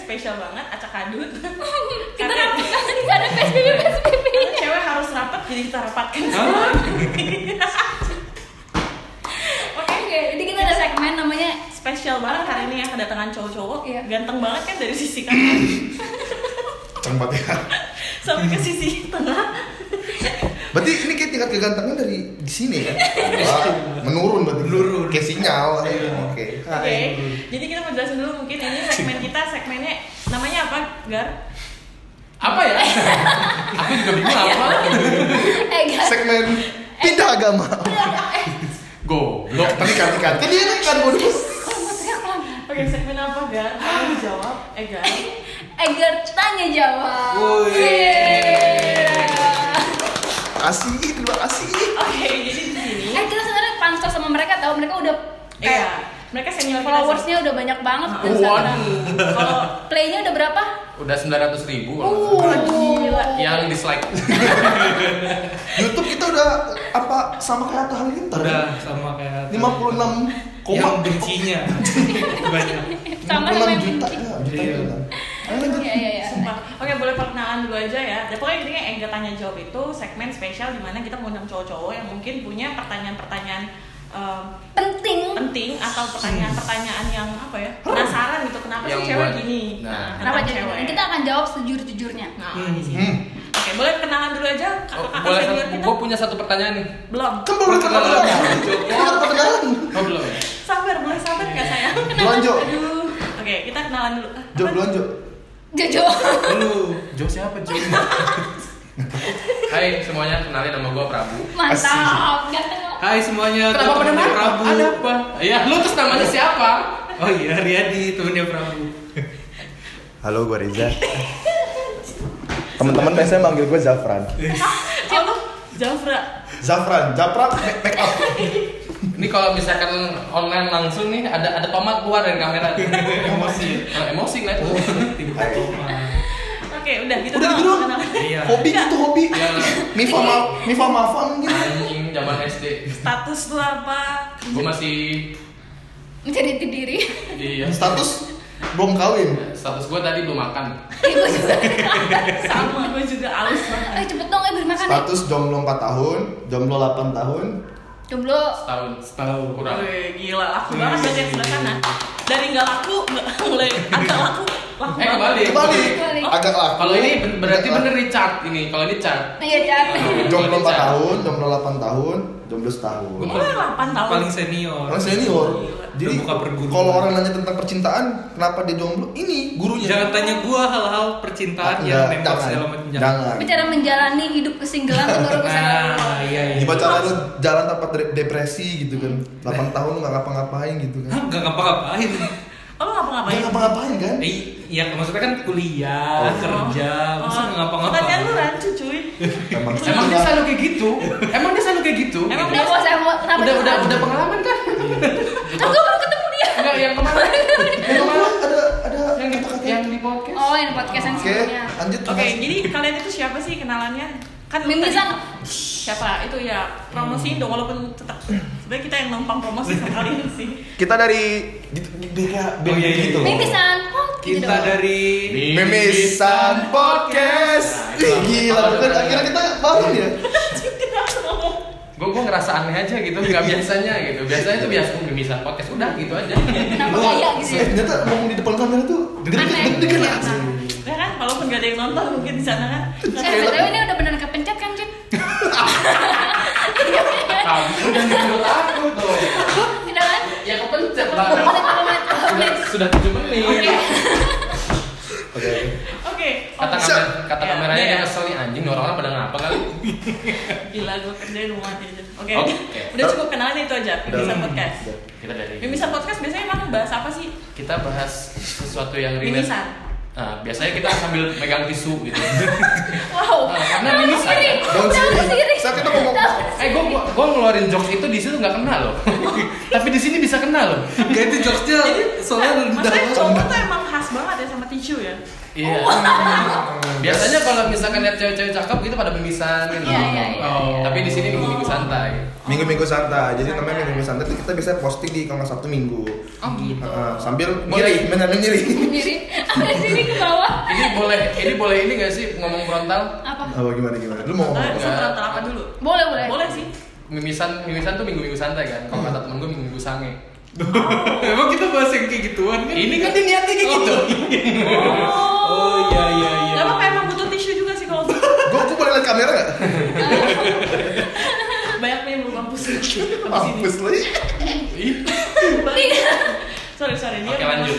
spesial banget acak adut kita Karena- rapatkan kita ada PSBB PSBB Karena cewek harus rapat jadi kita rapatkan semua. oke jadi kita ada segmen namanya spesial banget hari ini ya kedatangan cowok-cowok Iya. ganteng banget kan dari sisi kanan Cang banget ya. sampai ke sisi tengah Berarti ini kayak tingkat kegantengan dari di sini kan? Wah, menurun berarti. Menurun. Kayak sinyal. Oke. Iya. oke Nah, jadi kita mau jelasin dulu mungkin ini segmen kita segmennya namanya apa gar Apa ya? Aku juga bingung apa. eh guys Segmen tidak agama. eh Go. Go. Tapi kan kan. Tadi ini kan bonus. maksudnya pelan oke segmen apa gar kamu dijawab eh gar Eger tanya jawab Iya. Woi. Yeay. Asih, terima kasih. oke jadi di sini Eh kita sebenarnya pansos sama mereka tahu mereka udah iya kayak mereka senior kita sih. followersnya udah banyak banget di Instagram. Waduh. kalau Playnya udah berapa? Udah 900 ribu Oh. Uh, gila. Yang dislike YouTube kita udah apa sama kayak Atta Halilintar. ya? udah sama kayak 56 koma yang bencinya banyak Sama sama yang 56 juta benci. ya, juta Iya. ya. Ayo lanjut. Iya iya iya. Sumpah. Oke, boleh perkenalan dulu aja ya. Dan pokoknya intinya Engga Tanya Jawab itu segmen spesial di mana kita mengundang cowok-cowok yang mungkin punya pertanyaan-pertanyaan em, Penting. penting atau pertanyaan-pertanyaan yang apa ya penasaran gitu kenapa Yang sih cewek buat- gini? Nah. tentang Kenapa jadi? cewek. Kita akan jawab sejujur-jujurnya. Nah, Hmm. di sini. Hmm. Oke, boleh kenalan dulu aja Oh, kakak-kakak Boleh senior kita. Gue punya satu pertanyaan nih Belum. Kan baru kenalan. Baru kenalan. Oh belum ya? Sabar, boleh sabar nggak sayang? Belanja. Aduh. Oke, kita kenalan dulu. Ah, Jo belanja. Jojo. lu Jo siapa Jo Hai semuanya, kenalin nama gue Prabu Mantap. Ganteng. Hai semuanya Kenapa pada temennya nama? Ya, Prabu Ada apa? Ya lu terus namanya siapa? oh iya Riyadi temennya Prabu Halo, gue Reza. Teman-teman biasanya manggil gue Zafran. Oh, lu Jafra. Zafran, Zafran make- make up. Ini kalau misalkan online langsung nih ada ada tomat keluar dari kamera. emosi Oh, Kalau emosi ngeliat. tiba-tiba Hai. Oke, udah gitu Udah gitu doang. kenalan. iya Hobi itu hobi. Ya Mifa mal, Mifa Malfa mungkin. anjing zaman SD. Status lu apa? Gue masih Menjadi jati diri. iya. Status belum kawin. Status gue tadi belum makan. Eh gue juga. Sama gue juga alus banget. Eh cepet dong eh beri makan. eh. Status jomblo 4 tahun, jomblo 8 tahun. Jomblo. Setahun tahu kurang. Wih, gila laku banget dari yang sebelah sana. Dari nggak laku nggak mulai agak laku, laku Eh banget. kembali. Kembali. Kembali. Agak laku. Kalau ini ben- berarti Agak bener di chart ini. Kalau ini chart. Iya capek. laku. Jomblo 4 tahun, jomblo 8 tahun, jomblo setahun. Gue 8 tahun. paling senior Orang senior. Iya. Jadi Udah buka perguruan. kalau orang nanya tentang percintaan, kenapa dia jomblo? Ini gurunya. jangan tanya gua hal-hal percintaan Enggak, yang nembak jangan. segala macam jangan Jangan. Bicara menjalani hidup kesinggelan menurut kesenangan. Ah, nah iya iya Gimana cara lu jalan tanpa de- depresi gitu kan? 8 tahun lu nggak ngapa-ngapain gitu Hah, kan? nggak ngapa-ngapain Oh, lu ngapa-ngapain? Nggak ngapa-ngapain kan? Eh, iya maksudnya kan kuliah Oh. kerja masa nggak ngapa-ngapain Pertanyaan lu rancu cuy. Emang Emang dia selalu kayak gitu? Emang dia selalu kayak gitu? Emang Gitu. Udah bos saya mau kenapa udah sih? udah udah pengalaman kan? Aku baru ketemu dia. Enggak yang kemarin. Emang gua ada ada Yang di kata-kata. yang di podcast. Oh yang podcast yang Oke, sebelumnya. lanjut. Oke, jadi kalian itu siapa sih kenalannya? Kan lu Mimisan. tadi- siapa? Itu ya promosiin dong walaupun tetap sebenarnya kita yang numpang promosi sama kalian sih. kita dari gitu, beda Oh, iya, iya, gitu. iya. Mimisan. Oh, gitu kita dong. dari Memisan podcast. Ih, gila, bukan akhirnya kita bangun ya. Gue gue ngerasa aneh aja gitu, nggak biasanya gitu. Biasanya tuh biasa gue bisa podcast udah gitu aja. Kenapa Gua- kayak gitu? Eh, ternyata ngomong di depan kamera tuh Aneh. deg-degan Iya, asli. Ya kan, walaupun gak ada yang nonton mungkin di sana kan. Eh, BTW ini udah beneran kepencet kan, Cin? Tahu udah nyuruh aku tuh. Tidak kan? Ya kepencet lah. Kepencet, kepencet, kepencet. Sudah tujuh menit. Oke. Oke. Kata oh, kamera, kata Ya, kameranya ya. dia kesel nih anjing, nih orang-orang pada ngapa kali? Gila gue kerjain rumah aja. Oke. Oke. Udah cukup kenalan itu aja. Udah. Mimisan podcast. Udah. Kita dari Mimisan podcast biasanya emang bahas apa sih? kita bahas sesuatu yang relate. Mimisan. Nah, biasanya kita sambil megang tisu gitu. Wow. Ah, karena mimisan. Sendiri. Daun Daun sirih. sirih. Saat kita ngomong- Daun Eh, gue gue ngeluarin jokes itu di situ nggak kena loh. Tapi di sini bisa kena loh. Gak itu jokesnya soalnya rendah eh, Maksudnya Eh, cowok tuh emang khas banget ya sama tisu ya. Iya. Biasanya kalau misalkan lihat cewek-cewek cakep gitu pada mimisan gitu. Iya, iya, iya. Oh. Tapi di sini minggu-minggu santai. Minggu-minggu santai. Jadi Santai. namanya minggu-minggu santai itu kita bisa posting di kalau nggak Sabtu Minggu. Oh gitu. Heeh, sambil Boleh. nyiri, benar nyiri. Sendiri, ada sini ke bawah. Ini boleh, ini boleh ini gak sih ngomong frontal? Apa? Apa Oh, gimana gimana? Lu Nah, mau ngomong? apa? bisa terang apa dulu? Boleh boleh. Boleh sih. Mimisan, mimisan tuh minggu-minggu santai kan. Kalau kata temen gue minggu-minggu sange. Emang kita bahas yang kayak gituan kan? Ini kan dia niatnya kayak gitu. Oh, iya, iya, iya. Gak apa-apa emang butuh tisu juga sih kalau Gua gua boleh lihat kamera nggak? banyak nih yang belum kampus lagi. Habis ini. Mampus lu. Ih, sorry sorry dia. Oke, lanjut.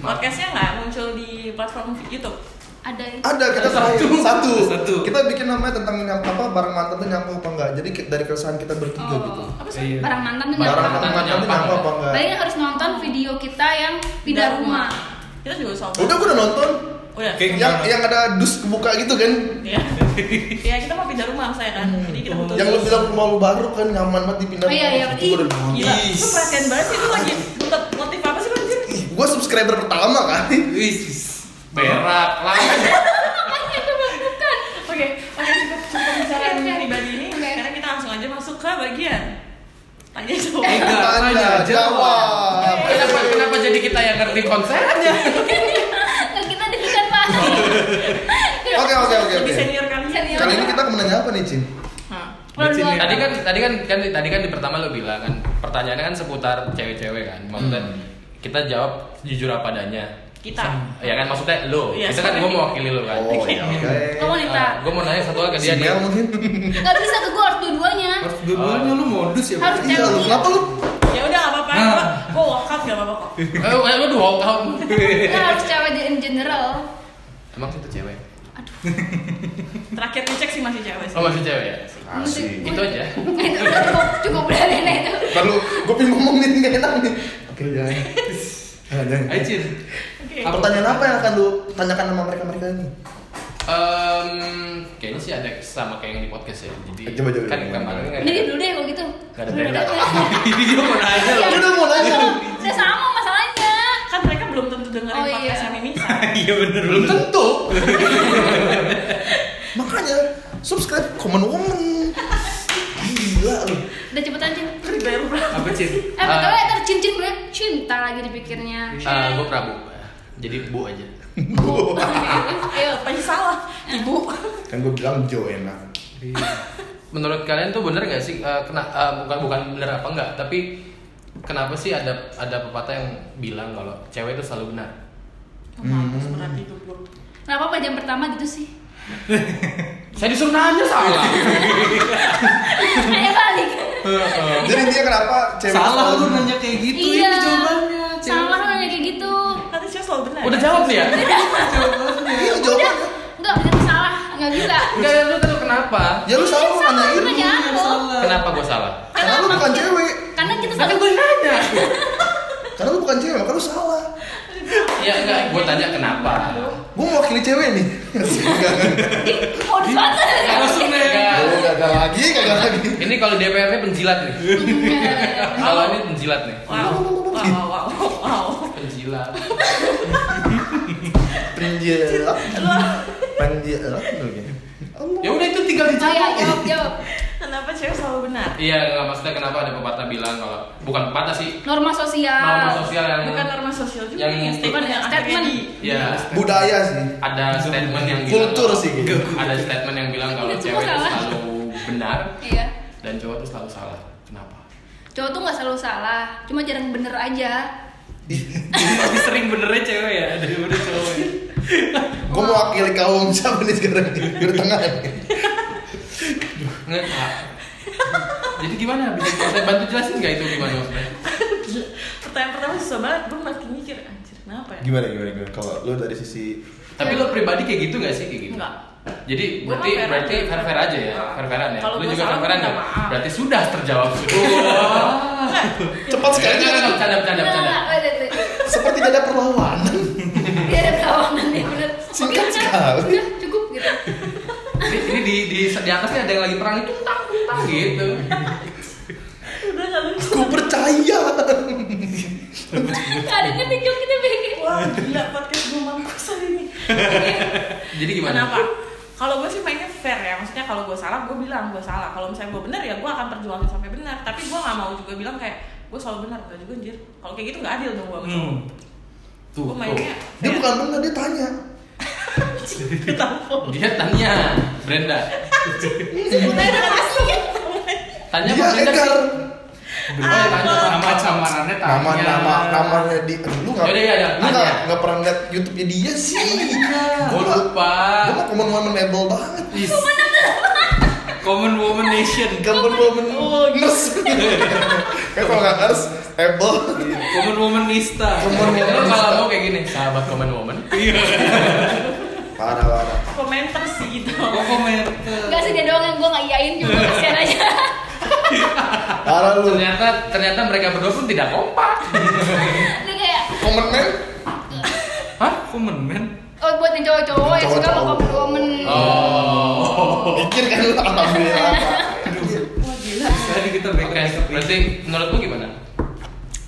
Podcastnya nggak muncul di platform YouTube. Ada yang Ada kita Ada satu. terakhir. satu. Ada satu. Kita bikin namanya tentang nyam- apa barang mantan tuh nyampah apa enggak. Jadi ki- dari keresahan kita bertiga Oh. gitu. Apa Iya. sih? barang mantan tuh Barang nyampe. mantan Iya. tuh nyampah apa enggak? Paling harus nonton video kita yang pindah rumah. Kita juga sombong. Udah gua udah nonton. Udah. Kayak- Yang yang ada dus kebuka gitu kan. Iya. Iya, kita mau pindah rumah saya kan. Jadi kita butuh. Yang lu bilang rumah lu baru kan nyaman banget dipindah. Oh, iya, iya, Itu gua udah nonton. Gila, lu perhatian banget sih lu lagi butuh motif apa sih lu anjir? Ih, gua subscriber pertama kan. Wih, sis. berak lah. Oke, oke cukup cukup pembicaraan Oke, oke. pribadi ini. Oke. Sekarang kita langsung aja masuk ke bagian tanya jawab. Eh, enggak, Tanya, tanya, jawab. Kenapa, kenapa jadi kita yang ngerti konsepnya? Nah, kita deg-degan pak. Oke oke oke Lebih oke. senior kali. ya? Senior. Kali Kan ini kita mau nanya apa nih, Cin? Nah, Luar Sini. biasa. tadi kan tadi kan kan tadi kan di pertama lo bilang kan pertanyaannya kan seputar cewek-cewek kan maksudnya Hmm. kita jawab jujur apa adanya kita. ya kan maksudnya lo Iya, kita kan sorry. gue mewakili lo kan Oh iya oke. Lo wanita. ah. gue mau nanya satu hal ke Si dia nih Mel mungkin. Gak bisa tuh gue harus dua-duanya. Harus Oh. dua-duanya lu modus ya. Harus Iya, lu kenapa lu? Ya udah enggak apa-apa. Nah. Gua gua walk out enggak apa-apa kok. eh eh, lo dua tahun Kita harus cewek di- in general. emang itu cewek Terakhir dicek sih masih cewek sih. oh masih cewek ya Asik. itu aja Itu udah Eh, cukup cukup berani nah itu. Kalau gua pengen ngomong nih nggak enak nih. Oke udah. Ah, jangan. Ayo, Cin. Oke. Apa? Pertanyaan apa yang akan lu tanyakan sama mereka-mereka ini? Em, kayaknya sih ada sama kayak yang di podcast ya jadi Coba, coba, kan coba. kemarin kan Ini dulu deh kalau gitu. Gak ada Dulu tenda. deh, kalau gitu. Ini dia mau nanya Iya. loh. Lu udah mau nanya. Udah sama masalahnya. Kan mereka belum tentu dengerin Oh, iya. podcast yang ini. Iya bener belum tentu Makanya subscribe Common Woman. Gila lu. Udah cepetan Cin. Ribet banget. Apa Cin? Ah. Eh betul ya ntar cincin gue cinta lagi dipikirnya. gue Ah, prabu jadi bu aja Bu. Ayo. Ya, Apa yang salah? Ibu. Kan gua bilang Joanna. menurut kalian tuh bener gak sih eh, kena eh, bukan bukan bener apa enggak tapi kenapa sih ada ada pepatah yang bilang kalau cewek itu selalu benar Mampus berarti itu gua. Kenapa pada jam pertama gitu sih? saya disuruh nanya salah Ayo balik. Jadi dia kenapa cewek Salah selalu- lu nanya kayak gitu iya. ini jawabannya. Cin. Salah lu nanya kayak gitu. Kan sih selalu benar. udah jawab nih ya Jawabannya. Iya jawaban. Enggak, itu salah. Enggak bisa. enggak lu tuh kenapa Ya lu salah mau nanya Lu ini. nanya aku. kenapa gue salah Karena lu bukan cewek. Karena kita Lah, kan selalu gue nanya Karena lu bukan cewek, makanya lu salah. ya enggak gue tanya kenapa Gua mewakili cewek nih. Enggak, enggak. modus banget. Langsung deh. Enggak. Lu gagal lagi, gagal lagi. ini kalau DPR-nya penjilat nih kalau ini penjilat nih Wow. Wow, wow, wow, wow. penjilat Penjilat. Lu- Penjilat. oke. Allah. ya udah itu tinggal Ayo dijawab Oh, iya, jawab jawab. Kenapa cewek selalu benar? iya enggak maksudnya kenapa ada pepatah bilang kalau bukan pepatah sih Norma sosial. norma sosial yang Bukan kan norma sosial juga Eh, Yang- yang statement yang akhirnya Statement. di ya Budaya sih. ada statement yang bilang Kultur kalau- sih. gitu. ada statement yang bilang kalau Itu cewek semua itu salah. selalu benar Iya. dan cowok itu selalu salah kenapa Cowok tuh nggak selalu salah, cuma jarang bener aja. Tapi sering benernya cewek ya daripada cowok. ya. Gua mewakili kaum siapa nih sekarang? Gua di tengah. ya? Nggak, Kak. jadi gimana bisa saya bantu jelasin nggak itu gimana maksudnya pertanyaan pertama susah banget. Gue makin mikir anjir kenapa ya? Gimana gimana gimana? Kalau lu dari sisi tapi lo pribadi kayak gitu nggak sih kayak gitu Enggak. jadi Gua berarti mah fair berarti aja. fair fair aja ya Ah. fair fairan ya Kalau lo gua juga salah, fair fairan gua ya minta maaf. berarti sudah terjawab Oh. cepat sekali Nggak, nggak, kan? bercanda bercanda bercanda Nggak, nggak, nggak, nggak. Seperti tidak ada perlawanan. Dia ada kawanan ya bener. Singkat Oke, udah, sekali. udah, cukup gitu. ini, ini di di di atasnya ada yang lagi perang itu tang tang gitu Udah gak lucu. Ku percaya. Kadangnya nih Jok, kita bikin. Wah gila podcast gue Jadi gimana? Kenapa? Kalau gue sih mainnya fair ya, maksudnya kalau gue salah gue bilang gue salah. Kalau misalnya gue bener ya gue akan perjuangin sampai benar. Tapi gue nggak mau juga bilang kayak gue selalu benar, gak juga anjir. Kalau kayak gitu nggak adil dong gue sama cowok. Hmm. Tuh, Gue mainnya Dia fair. bukan benar, dia tanya. Kenapa? Dia tanya Brenda. Sebenarnya udah pasti ya. Tanya Iya, apa Brenda Edgar. sih? Ah, Bener, tanya nama camarannya tanya. Nama nama namanya di aduh, lu nggak Yaudah, iya, iya, lu nggak tanya. nggak pernah lihat YouTube-nya dia sih. Gue lupa. Gue mah common woman able banget. Is. Common Woman Nation. Common woman nurse. Kayak kalau nggak nurse able. Common Woman Nista. Common Lu woman. kalau mau kayak gini, sahabat common woman. Parah parah. Komentar sih gitu. Kok komentar? Enggak sih dia doang yang gue nggak iyain juga Iya. kasihan aja. Parah lu. Ternyata ternyata mereka berdua pun tidak kompak. Ini kayak Common man. Hah? Common man? oh buat yang cowok-cowok yang suka Cowok-cowok. mau komen Oh. Mikir kan lu alhamdulillah. Wah gila. Tadi kita Oke, back and forth. berarti menurut lu gimana?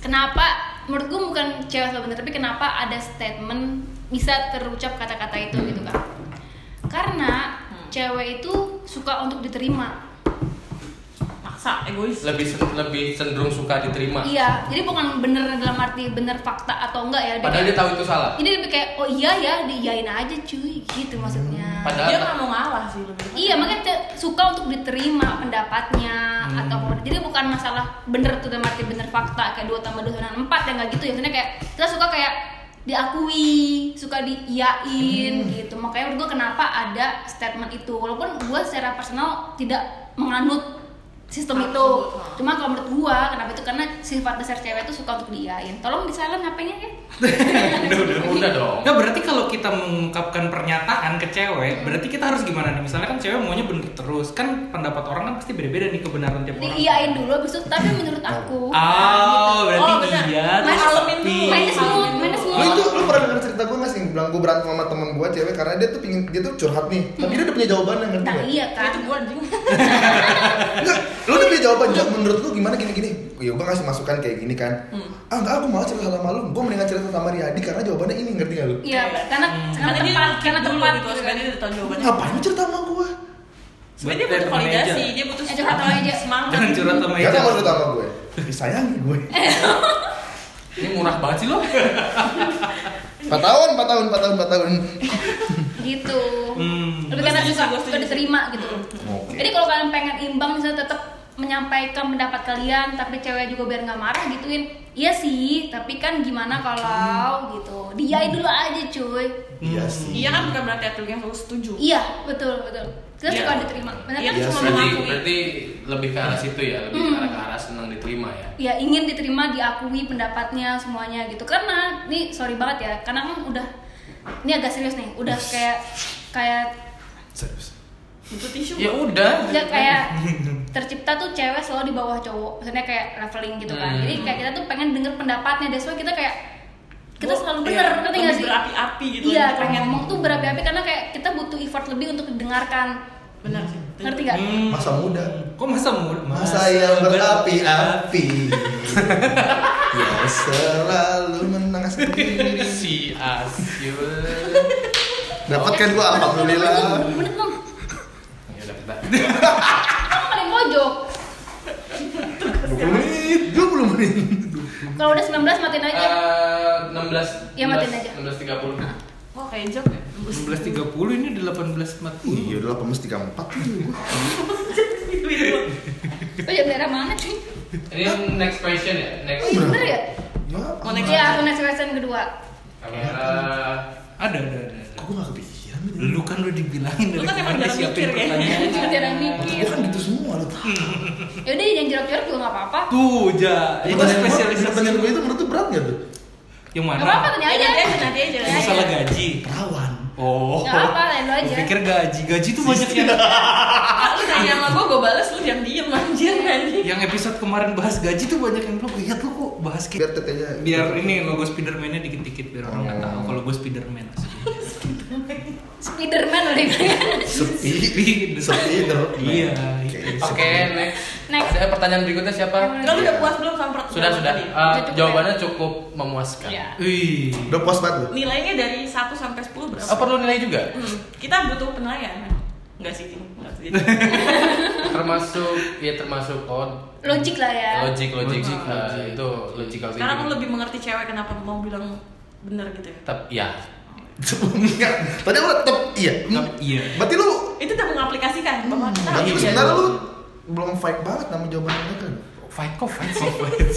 Kenapa menurut gue bukan cewek salah bener tapi kenapa ada statement bisa terucap kata-kata itu gitu kan? Karena Hmm. cewek itu suka untuk diterima. Maksa egois. Lebih sen- lebih cenderung suka diterima. Iya, jadi bukan bener dalam arti bener fakta atau enggak ya. dia Padahal dia kayak- tahu itu salah. Jadi lebih kayak oh iya ya diiyain aja cuy gitu maksudnya. Padahal Dia nggak mau ngalah sih lebih. Iya makanya te- suka untuk diterima pendapatnya Hmm. atau apa. Jadi bukan masalah bener tuh dalam arti bener fakta kayak dua tambah dua sama empat yang nggak gitu ya. Sebenarnya kayak kita suka kayak diakui, suka diiyain Hmm. gitu. Makanya menurut gue kenapa ada statement itu. Walaupun gue secara personal tidak menganut sistem itu. Absolut. Cuma kalau menurut gue kenapa itu karena sifat dasar cewek itu suka untuk diiyain. Tolong di silent HP-nya ya. Udah, udah. Iya. udah dong. Nah berarti kalau kita mengungkapkan pernyataan ke cewek, berarti kita harus gimana nih? Misalnya kan cewek maunya bener terus, kan pendapat orang kan pasti beda-beda nih kebenaran tiap orang. Iya. Diiyain dulu abis itu tapi menurut aku. kan, gitu. Oh, berarti Oh, benar. iya. Main terus alamin tapi- dulu. Minus mood, minus Lu mood. itu lu pernah denger cerita gue nggak sih bilang gue berantem sama temen gue cewek karena dia tuh pingin dia tuh curhat nih tapi dia udah punya jawabannya ngerti Nah nggak? iya Itu kan. gue anjing. Enggak, lu udah punya jawaban Jok, menurut lu gimana gini-gini? Ya gue ngasih masukan kayak gini kan Ah enggak, aku mau cerita sama lu, gue mendingan cerita sama Riyadi karena jawabannya ini, ngerti gak lu? Iya, karena karena Karena dia tempat karena karena tempat gitu. gitu Sebenarnya kan. dia udah tahu jawabannya. Ngapain lu cerita sama gue? Sebenarnya dia butuh Buat validasi, meja. dia butuh Eh, curhat sama meja. semangat. Jangan curhat sama Gak mau cerita itu. sama gue Disayangi gue Ini murah banget sih lo. Iya, 4 tahun, 4 tahun, 4 tahun, 4 tahun Gitu. Hmm. Lebih karena Setuju, suka gua setuju. suka diterima gitu. Oke. Jadi kalau kalian pengen imbang misalnya tetap menyampaikan pendapat kalian tapi cewek juga biar nggak marah gituin iya sih tapi kan gimana kalau gitu diain dulu aja cuy Iya sih Iya kan bukan berarti atletnya selalu setuju. iya betul betul kita Iya. suka diterima benar Iya, kan Iya cuma sih. Berarti mengakui. berarti lebih ke arah situ ya, lebih Hmm. ke arah ke arah senang diterima ya. ya ingin diterima diakui pendapatnya semuanya gitu karena nih sorry banget ya karena kan udah ini agak serius nih udah kayak kayak Serius Butuh tisu. Ya udah. Enggak kayak tercipta tuh cewek selalu di bawah cowok. Maksudnya kayak leveling gitu kan. Hmm. Jadi kayak kita tuh pengen denger pendapatnya. That's why kita kayak kita Gua- selalu iya, bener, ngerti gak lebih sih? Berapi-api gitu. Iya, lebih pengen ngomong tuh berapi-api karena kayak kita butuh effort lebih untuk didengarkan. Benar sih. Ngerti gak? Hmm. Masa muda. Kok masa muda? Masa iya. yang berapi-api Ya selalu menang sendiri Si asyul. Dapatkan gue, kan alhamdulillah Bener belum? Ya udah kita. Kamu paling pojok. 20 menit, 20 menit Kalau udah 19 matiin aja. Eh, 16 Ya, matiin aja. Ah. 16.30. Kok kayak jok ya? 11.30 ini udah 18.40. Iya udah 18.34 Ah. Itu ya daerah mana sih? Ini next question ya, next. Oh iya bener ya? Ya Mau next Iya, aku next question kedua. Kamera. Ada, ada, ada. ada. Kok gue gak kepikiran ya? Lu kan udah dibilangin Lu dari kan emang kemarin jarang siapin mikir ya. pertanyaan. Jarang Gue mikir. kan gitu semua lo tau Yaudah yang jorok-jorok juga gak apa-apa. Tuh, ja. kan Itu spesialisasi. Pertanyaan gue itu menurut tuh berat gak tuh? Yang Gak apa-apa mana? tanya Ya, aja. nanti aja, nanti aja. Yang Masalah gaji. Perawan Oh. Gak apa-apa, lain lo Gua aja. pikir gaji. Gaji tuh banyak yang Ah, lu tanya sama gue, gue balas lu diam-diam anjir anjing. yang episode kemarin bahas gaji tuh banyak yang belum lihat lu kok bahas Biar kayak tetenya biar ini logo Spiderman-nya dikit-dikit biar orang nggak tahu kalau gue Spiderman aslinya. Spiderman udah gitu. dibilang. Sepi Spiderman. Sepi terus Iya. Oke, next. Next. Ada pertanyaan berikutnya siapa? Enggak lu udah puas belum sama pertanyaan Sudah, sudah. tadi? Eh, Udah cukup ya? jawabannya cukup memuaskan. Iya. Wih. Udah puas banget lo? Nilainya dari 1 sampai sampai 10 berapa? Oh, perlu nilai juga? Hmm, kita butuh penilaian. Enggak sih, Ting. Nggak sih. termasuk ya termasuk oh Logik lah ya. logik logik Logik, eh, logik. itu logical thinking Sekarang aku lebih mengerti cewek kenapa mau bilang bener gitu ya. Tep- ya Enggak. Tadi aku tep iya. Tep, iya. Berarti lu itu udah mengaplikasikan Hmm. bahwa kita berarti lu harus sebenarnya lu belum fight banget sama jawaban kan? mereka. fight kok fight Oh, fight.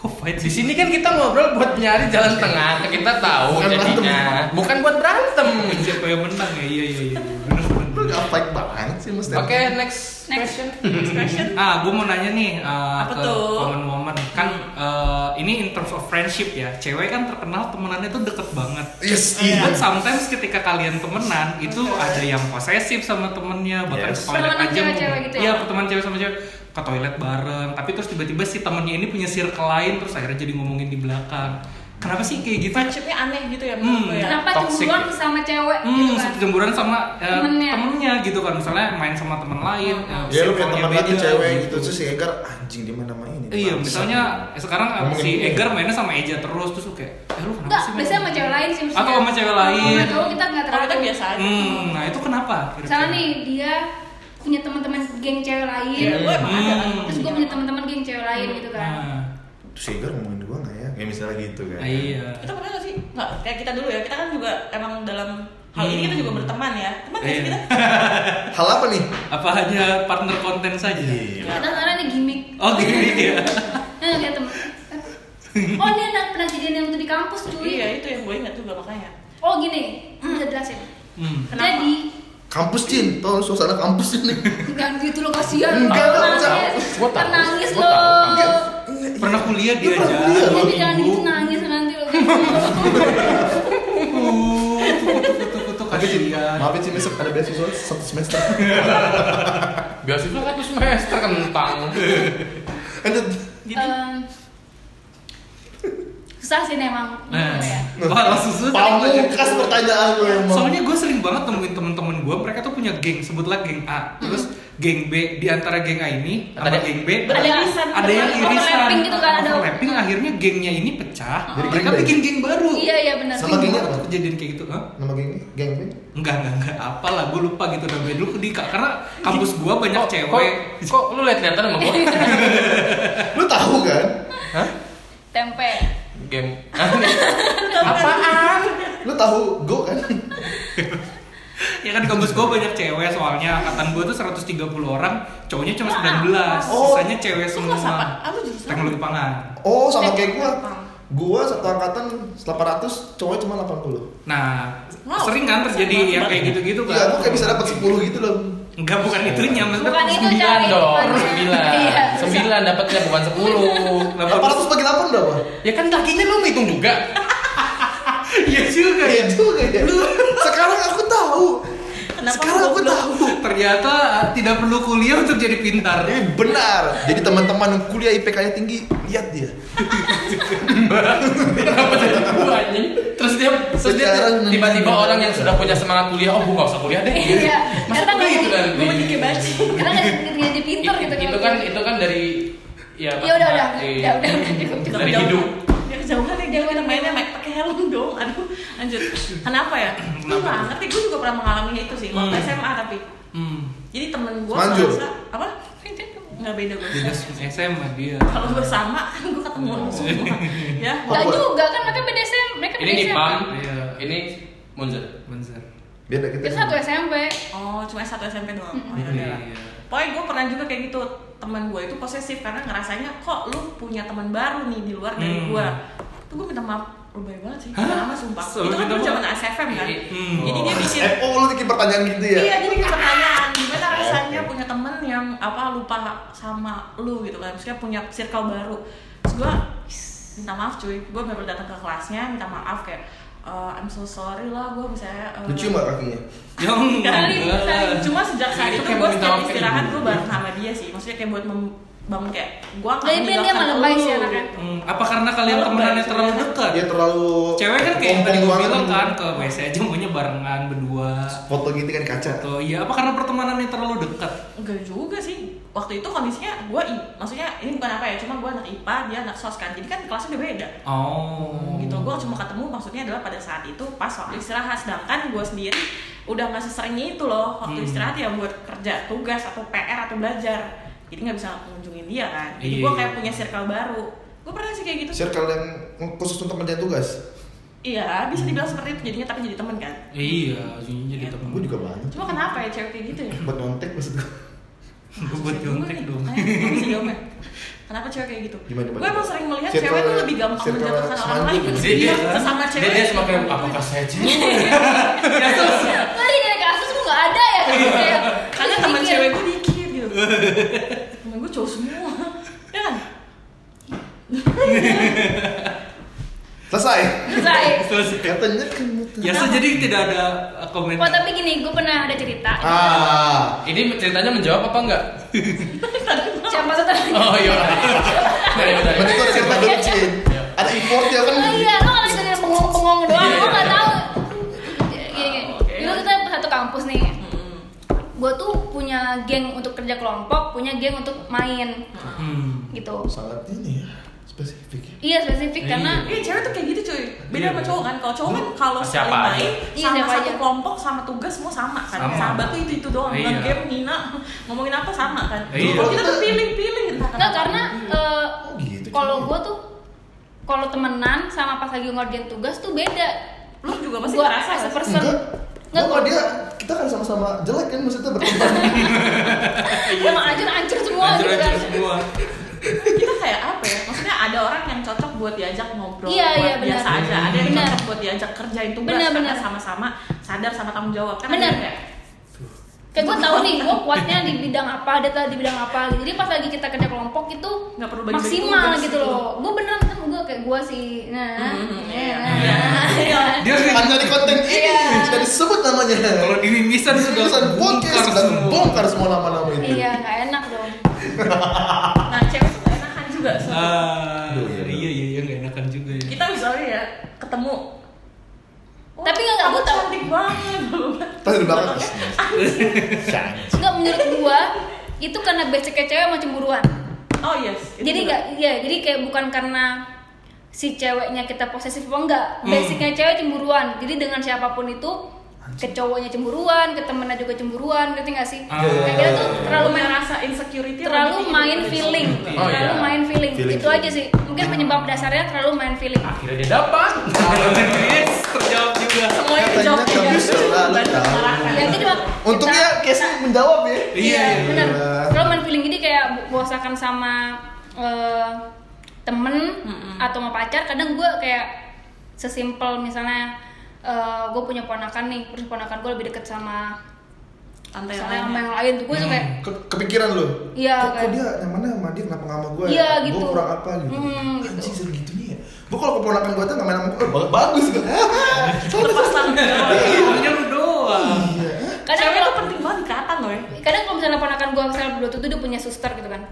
Oh, fight di sini kan kita ngobrol buat nyari jalan tengah kan kita tahu Bukan jadinya berantem. bukan buat berantem siapa yang menang ya? Iya, iya, iya. Bener, Lu bener. enggak fight banget sih Mas. oke Dan. next, Next. question expression Ah, gue mau nanya nih eh, Apa ke tuh? common woman kan Hmm. eh, ini in terms of friendship ya. Cewek kan terkenal temenannya tuh deket banget. Yes, iya. Even sometimes ketika kalian temenan itu ada yang posesif sama temennya bahkan Yes. ke toilet Pertemanan aja mau- cewek-cewek gitu ya? iya teman cewek sama cewek ke toilet bareng tapi terus tiba-tiba si temennya ini punya circle lain terus akhirnya jadi ngomongin di belakang kenapa sih kayak gitu friendshipnya aneh gitu ya menurut Hmm. gue ya. Kenapa Toxic. cemburuan sama cewek gitu Hmm, kan? cemburuan sama eh, Temennya. Hmm. temennya gitu kan misalnya main sama temen lain eh, Ya lu circle-nya punya teman lagi beda, cewek gitu terus si Egar anjing dia main sama ini. Iya, Bangsat. misalnya eh, sekarang eh, Ngomongin si gue. Egar mainnya sama Eja terus terus lu kayak, eh lu kenapa Enggak, sih? main biasanya sama cewek lain sih maksudnya. Atau sama cewek lain. Sama cowok kita enggak Kalau terlalu. kita kan biasa aja. Hmm, nah itu kenapa? kira-kira? Ah, Misalnya nih dia punya teman-teman geng cewek lain. Iya, gue emang ada kan. Hmm. Terus gue punya teman-teman geng cewek lain gitu kan. Nah, Terus si Egar ngomongin gua enggak ya? Ya misalnya gitu kan. nah, iya. Kita pernah gak sih? Nggak, kayak kita dulu ya. Kita kan juga emang dalam hal ini Hmm. kita juga berteman ya. Teman nggak sih Iya. kita? Hal apa nih? Apa hanya partner konten saja? Iya. Kita sekarang ada gimmick. Oh, gitu ya. Nah, kayak temen. Oh, ini anak pernah kejadian yang waktu di kampus cuy. Iya, itu yang gue ingat juga makanya. Oh, gini. Bisa jelasin. Hmm. Kenapa? Jadi, Kampus Cin, tau lu suasana kampus ini. Jangan gitu lo kasihan Enggak, lo gua nangis. tahu. Gua tahu. Nangis Gua lo. tahu. Pernah kuliah dia Pernah aja. kuliah, dua Jadi jangan minggu. gitu nangis nanti lo. Uh, tuh, tuh, tuh, tuh, Oke, Cin. kasihan. Maafin Cin, besok ada beasiswa satu semester. beasiswa satu semester kentang Lanjut. Gitu. Jadi Em, susah sih memang. Nah, Apa ya? wah, langsung susah. Pamungkas pertanyaan lu emang. Soalnya gue sering banget temuin temen-temen gue, mereka tuh punya geng, sebutlah geng A, terus geng B, di antara geng A ini, sama Ada- geng B, ada Ada- irisan. ada yang Overlapping irisan, gitu kan, ada- overlapping, akhirnya gengnya ini pecah, Jadi mereka geng band. bikin geng baru. Iya iya benar. Sama gengnya apa? Kejadian kayak gitu, Hah? Nama geng geng ini? Enggak, enggak, enggak. Apalah, gue lupa gitu namanya dulu di karena kampus gua banyak kok, cewek. kok, kok lu liat liatan sama gue Lu tahu kan? Hah? Tempe. game Apaan? Lu tahu go kan? ya kan di kampus gua banyak cewek soalnya angkatan gua tuh 130 orang, cowoknya cuma 19. Oh. Sisanya cewek Lu semua. kelas apa? Ah, lu jurusan apa? Teknologi pangan. Oh, sama kayak gua. Gua satu angkatan 800, cowoknya cuma 80. Nah, Wow. sering kan terjadi yang kayak gitu-gitu kan? Iya, gua kayak bisa dapat 10 gitu loh. Enggak, bukan itunya, maksudnya Bukan itu, sembilan Coy. dong. dong Iya, sembilan sembilan dapatnya bukan sepuluh 800 bagi 8 berapa? ya kan kakinya lu ngitung juga Iya juga ya. Iya juga ya. Sekarang aku tahu. Kenapa Sekarang lu aku goblok? tahu. Ternyata eh, tidak perlu kuliah untuk jadi pintar. Ini benar. Jadi teman-teman yang kuliah IPK-nya tinggi, lihat dia. Kenapa jadi gua anjing? Terus dia, terus dia Secara- tiba-tiba orang yang sudah punya semangat kuliah, oh gua gak usah kuliah deh. Iya. Masa Karena gua gitu kan? Gue jadi kayak baci. Karena nggak jadi pinter gitu Itu kan, itu kan dari ya. Ya udah udah. dari- Ya udah udah cukup cukup. Iya. Dari hidup. Ya kejauhan ya gitu kita mainnya main pakai helm dong. Aduh, lanjut. Kenapa ya? Gue nggak ngerti. Gue juga pernah mengalami itu sih. Waktu Hmm. SMA tapi. Hmm. Jadi temen gue Manjur. merasa apa? Nggak beda gue. Beda SMA dia. Kalau gue sama kan gue ketemu Iya. lu semua. Ya. Enggak juga kan mereka beda SM, mereka Ini beda di PAM, Iya. ini Munzer. Bener. Beda kita. Kita satu SMP. Oh, cuma satu SMP doang. Oh, ya Iya. udah. Pokoknya gue pernah juga kayak gitu teman gue itu posesif karena ngerasanya kok lu punya teman baru nih di luar dari Hmm. gue. Tuh gue minta maaf lebay banget sih, Hah? lama sumpah. itu Selalu kan minta dulu gitu, maaf? zaman ASFM kan. Hmm. Jadi dia bikin Eh, oh lu bikin pertanyaan gitu ya? Iya, jadi kayak pertanyaan gimana rasanya punya temen yang apa lupa sama lu gitu kan, maksudnya punya circle baru. Terus gue minta maaf cuy, gue baru datang ke kelasnya minta maaf kayak "Eh, I'm so sorry lah, gue misalnya. eh, Lucu mah kakinya. Yang Kali, kali. enggak. Cuma sejak saat Iya. Itu itu kayak gue minta setiap maaf kayak istirahat gitu. gue bareng sama dia sih. Maksudnya kayak buat membangun kayak gue nggak Dari dia meninggalkan malah lebay lu. sih anaknya. Hmm, Apa karena kalian temenannya terlalu dekat? Dia terlalu Cewek kan kayak yang tadi kompong gue banget. bilang kan ke WC aja maunya barengan berdua. Foto gitu kan kaca. Atau iya apa karena pertemanannya terlalu dekat? Enggak juga sih. waktu itu kondisinya gue maksudnya ini bukan apa ya cuma gue anak IPA dia anak sos kan jadi kan kelasnya udah beda Oh. gitu gue cuma ketemu maksudnya adalah pada saat itu pas waktu istirahat sedangkan gue sendiri udah nggak seseringnya itu loh waktu Hmm. istirahat ya buat kerja tugas atau PR atau belajar jadi nggak bisa mengunjungin dia kan jadi Iya. gue kayak punya circle baru gue pernah sih kayak gitu Circle yang khusus untuk kerja tugas. iya bisa dibilang seperti itu jadinya tapi jadi temen kan Iya, ujungnya jadi temen Gue juga banyak. cuma kenapa ya cewek kayak gitu ya Buat nyontek maksud gue. Gue buat Cewek nyontek gue nih, dong. makanya gue bisa jawab ya. Kenapa cewek kayak gitu? Gimana, gimana? Gue emang sering melihat Circle- cewek tuh lebih gampang circle menjatuhkan orang lain semangkuk. kan? Dia dia sama dia, cewek. gitu. Iya, dia semakin apakah saya cewek? Ya, Tadi dari kasus lu nggak ada ya kayak gitu Iya. ya. Karena teman cewek gue dikit gitu. Temen gue cowok semua. Ya kan? Selesai. Selesai. Selesai. Katanya kan Ah. kamu tuh. Ya so, jadi tidak ada uh, komen. Oh tapi gini, gue pernah ada cerita. Ah. Ini ceritanya menjawab apa enggak? Siapa tuh tadi? Oh iya. Dari dari. Berarti kok ada cerita bucin. Ada import ya kan? Oh iya, lo kan sekedar bengong-bengong doang, Iya. gue nggak tahu. Iya, iya, iya. Oke. Dulu kita satu kampus nih. Mm-mm. Gue tuh punya geng untuk kerja kelompok, punya geng untuk main Hmm. gitu. Sangat ini ya. Spesifik ya. Iya spesifik karena Iya cewek tuh kayak gitu cuy. Beda Iya. sama cowok kan. Kalau cowok kan kalau Siapa sekali aja. main Iya, sama siapa satu aja. kelompok sama tugas semua sama kan. Sama. Sahabat tuh itu itu doang. Bukan Iya. game Nina ngomongin apa sama kan. Iya. Kalau kita tuh pilih-pilih. entah Enggak kenapa. karena eh, Oh, gitu, kalau cuy. gue tuh kalau temenan sama pas lagi ngerjain tugas tuh beda. lu juga pasti Gue ngerasa as a nggak sih? person. Enggak. Enggak, Enggak kalau gua- dia kita kan sama-sama jelek kan maksudnya berkembang. emang hancur hancur semua gitu kan. Hancur-hancur semua. kita kayak apa ya maksudnya ada orang yang cocok buat diajak ngobrol Iya, buat iya, benar. biasa aja ada yang Benar. cocok buat diajak kerjain tugas Benar, karena benar. sama-sama sadar sama tanggung jawab kan Benar. ada kayak, Kayak gue tahu nih, gue kuatnya di bidang apa, dia tahu di bidang apa. gitu. Jadi pas lagi kita kerja kelompok itu nggak perlu bagi-bagi maksimal tugas gitu loh. Gue beneran kan gue kayak gue sih. Nah, Hmm, iya, iya. nah, Iya. Iya. Dia sering Hanya di konten ini sudah disebut namanya. kalau di mimisan sudah Tulisan podcast dan bongkar semua lama-lama iya, itu. iya, nggak enak dong. nah cewek tuh nggak enakan juga so. Ah, Aduh, iya, iya iya iya nggak enakan juga ya. kita misalnya ya ketemu Wah, Tapi nggak- nggak kamu buta. cantik banget Pas di belakang. Iya. Enggak menurut gue itu karena basicnya cewek sama cemburuan. oh yes itu jadi juga. nggak, ya jadi kayak bukan karena si ceweknya kita posesif apa enggak Hmm. basicnya cewek cemburuan jadi dengan siapapun itu ke cowoknya cemburuan ke temennya juga cemburuan ngerti nggak sih Ah. kayak kita tuh terlalu terlalu main main rasa insecurity Iya, terlalu lebih main daripada feeling insecurity. Oh, terlalu iya. main feeling, Feeling, itu aja sih mungkin penyebab dasarnya terlalu main feeling Akhirnya dia dapat. Yes, Eh, terjawab juga. semuanya Katanya dijawab kamu dengan selalu banyak tahu. mengarahkan. ya jadi mak- Untungnya kita- Casey menjawab ya. Iya, Iya, iya. benar. Iya. Kalau main feeling jadi kayak bo- bosakan sama eh, temen Mm-mm. atau sama pacar, kadang gue kayak sesimpel misalnya gue punya ponakan nih, terus ponakan gue lebih deket sama Tante yang ya? misalnya sama lainnya. yang lain, tuh gue tuh kayak Ke- kepikiran lu. Iya, kok, kok kayak- dia nyamannya sama dia kenapa nggak sama gue Iya, gitu. gue kurang apa gitu Hmm, gitu. anjing segitunya ya gue kalau keponakan gue tuh nggak main sama gue eh, bagus gitu lepas tanggung jawab Soalnya lu doang. Iya. cewek kadang Iya. kalau- tuh penting banget dikatan loh ya kadang kalau misalnya ponakan gue misalnya berdua tuh dia punya suster gitu kan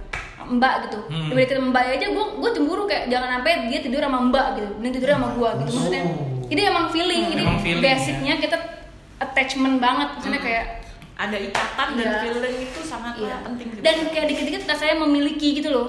mbak gitu Hmm. lebih deket sama mbak aja gue gue cemburu kayak jangan sampai dia tidur sama mbak gitu dia tidur sama gue gitu maksudnya Oh. jadi emang feeling jadi Emang feeling, ya. Hmm. basicnya kita attachment banget maksudnya kayak ada ikatan dan Iya. feeling itu sangat iya. penting gitu. dan kayak dikit-dikit saya memiliki gitu loh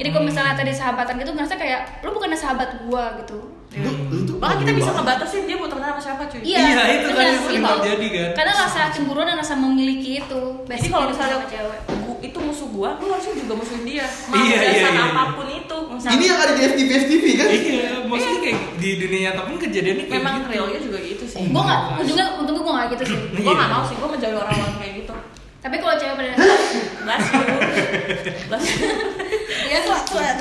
jadi Hmm. kalau misalnya tadi sahabatan gitu ngerasa kayak lu bukannya sahabat gue gitu lu, lu tuh bahkan kita bisa bagus banget. ngebatasin dia mau temenan sama siapa cuy Iya, itu kan bener, yang sering gitu. terjadi kan. karena rasa cemburu dan rasa memiliki itu jadi basicnya kalau dari misalnya sama cewek gu- itu musuh gua lu harusnya juga musuhin dia mau Iya, dasar iya, iya. apapun itu misalnya ini yang ada di FTV FTV kan Iya, maksudnya kayak di dunia nyata pun kejadiannya kayak memang gitu. realnya juga gitu sih gue nggak ujungnya untungnya gue nggak gitu sih Iya. gua nggak mau sih gua menjauhi orang-orang kayak gitu tapi kalau cewek pada Blast you. Blast you. Iya, suat, suat.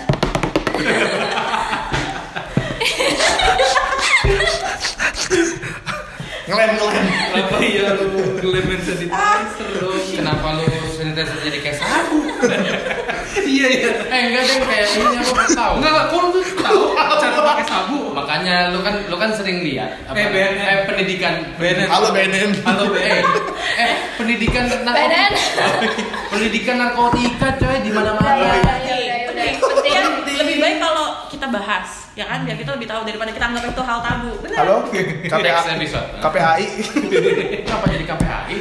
ngelem ngelem Apa iya lu elemen sanitizer dong? Kenapa lu sanitizer jadi kayak sabu? Iya iya. Eh enggak deh kayak ini aku nggak tahu. Enggak enggak, kok lu tuh tahu cara pakai sabu? Makanya lu kan lu kan sering lihat apa- Eh, BNN. eh, pendidikan BNN. halo BNN Halo eh, Ben. eh pendidikan Badan. narkotika. pendidikan narkotika coy di Iya, Udah, mana-mana. udah, udah, udah. Penting. lebih baik kalau kita bahas ya kan biar kita lebih tahu daripada kita anggap itu hal tabu benar halo Next episode. KPAI Kenapa jadi KPAI?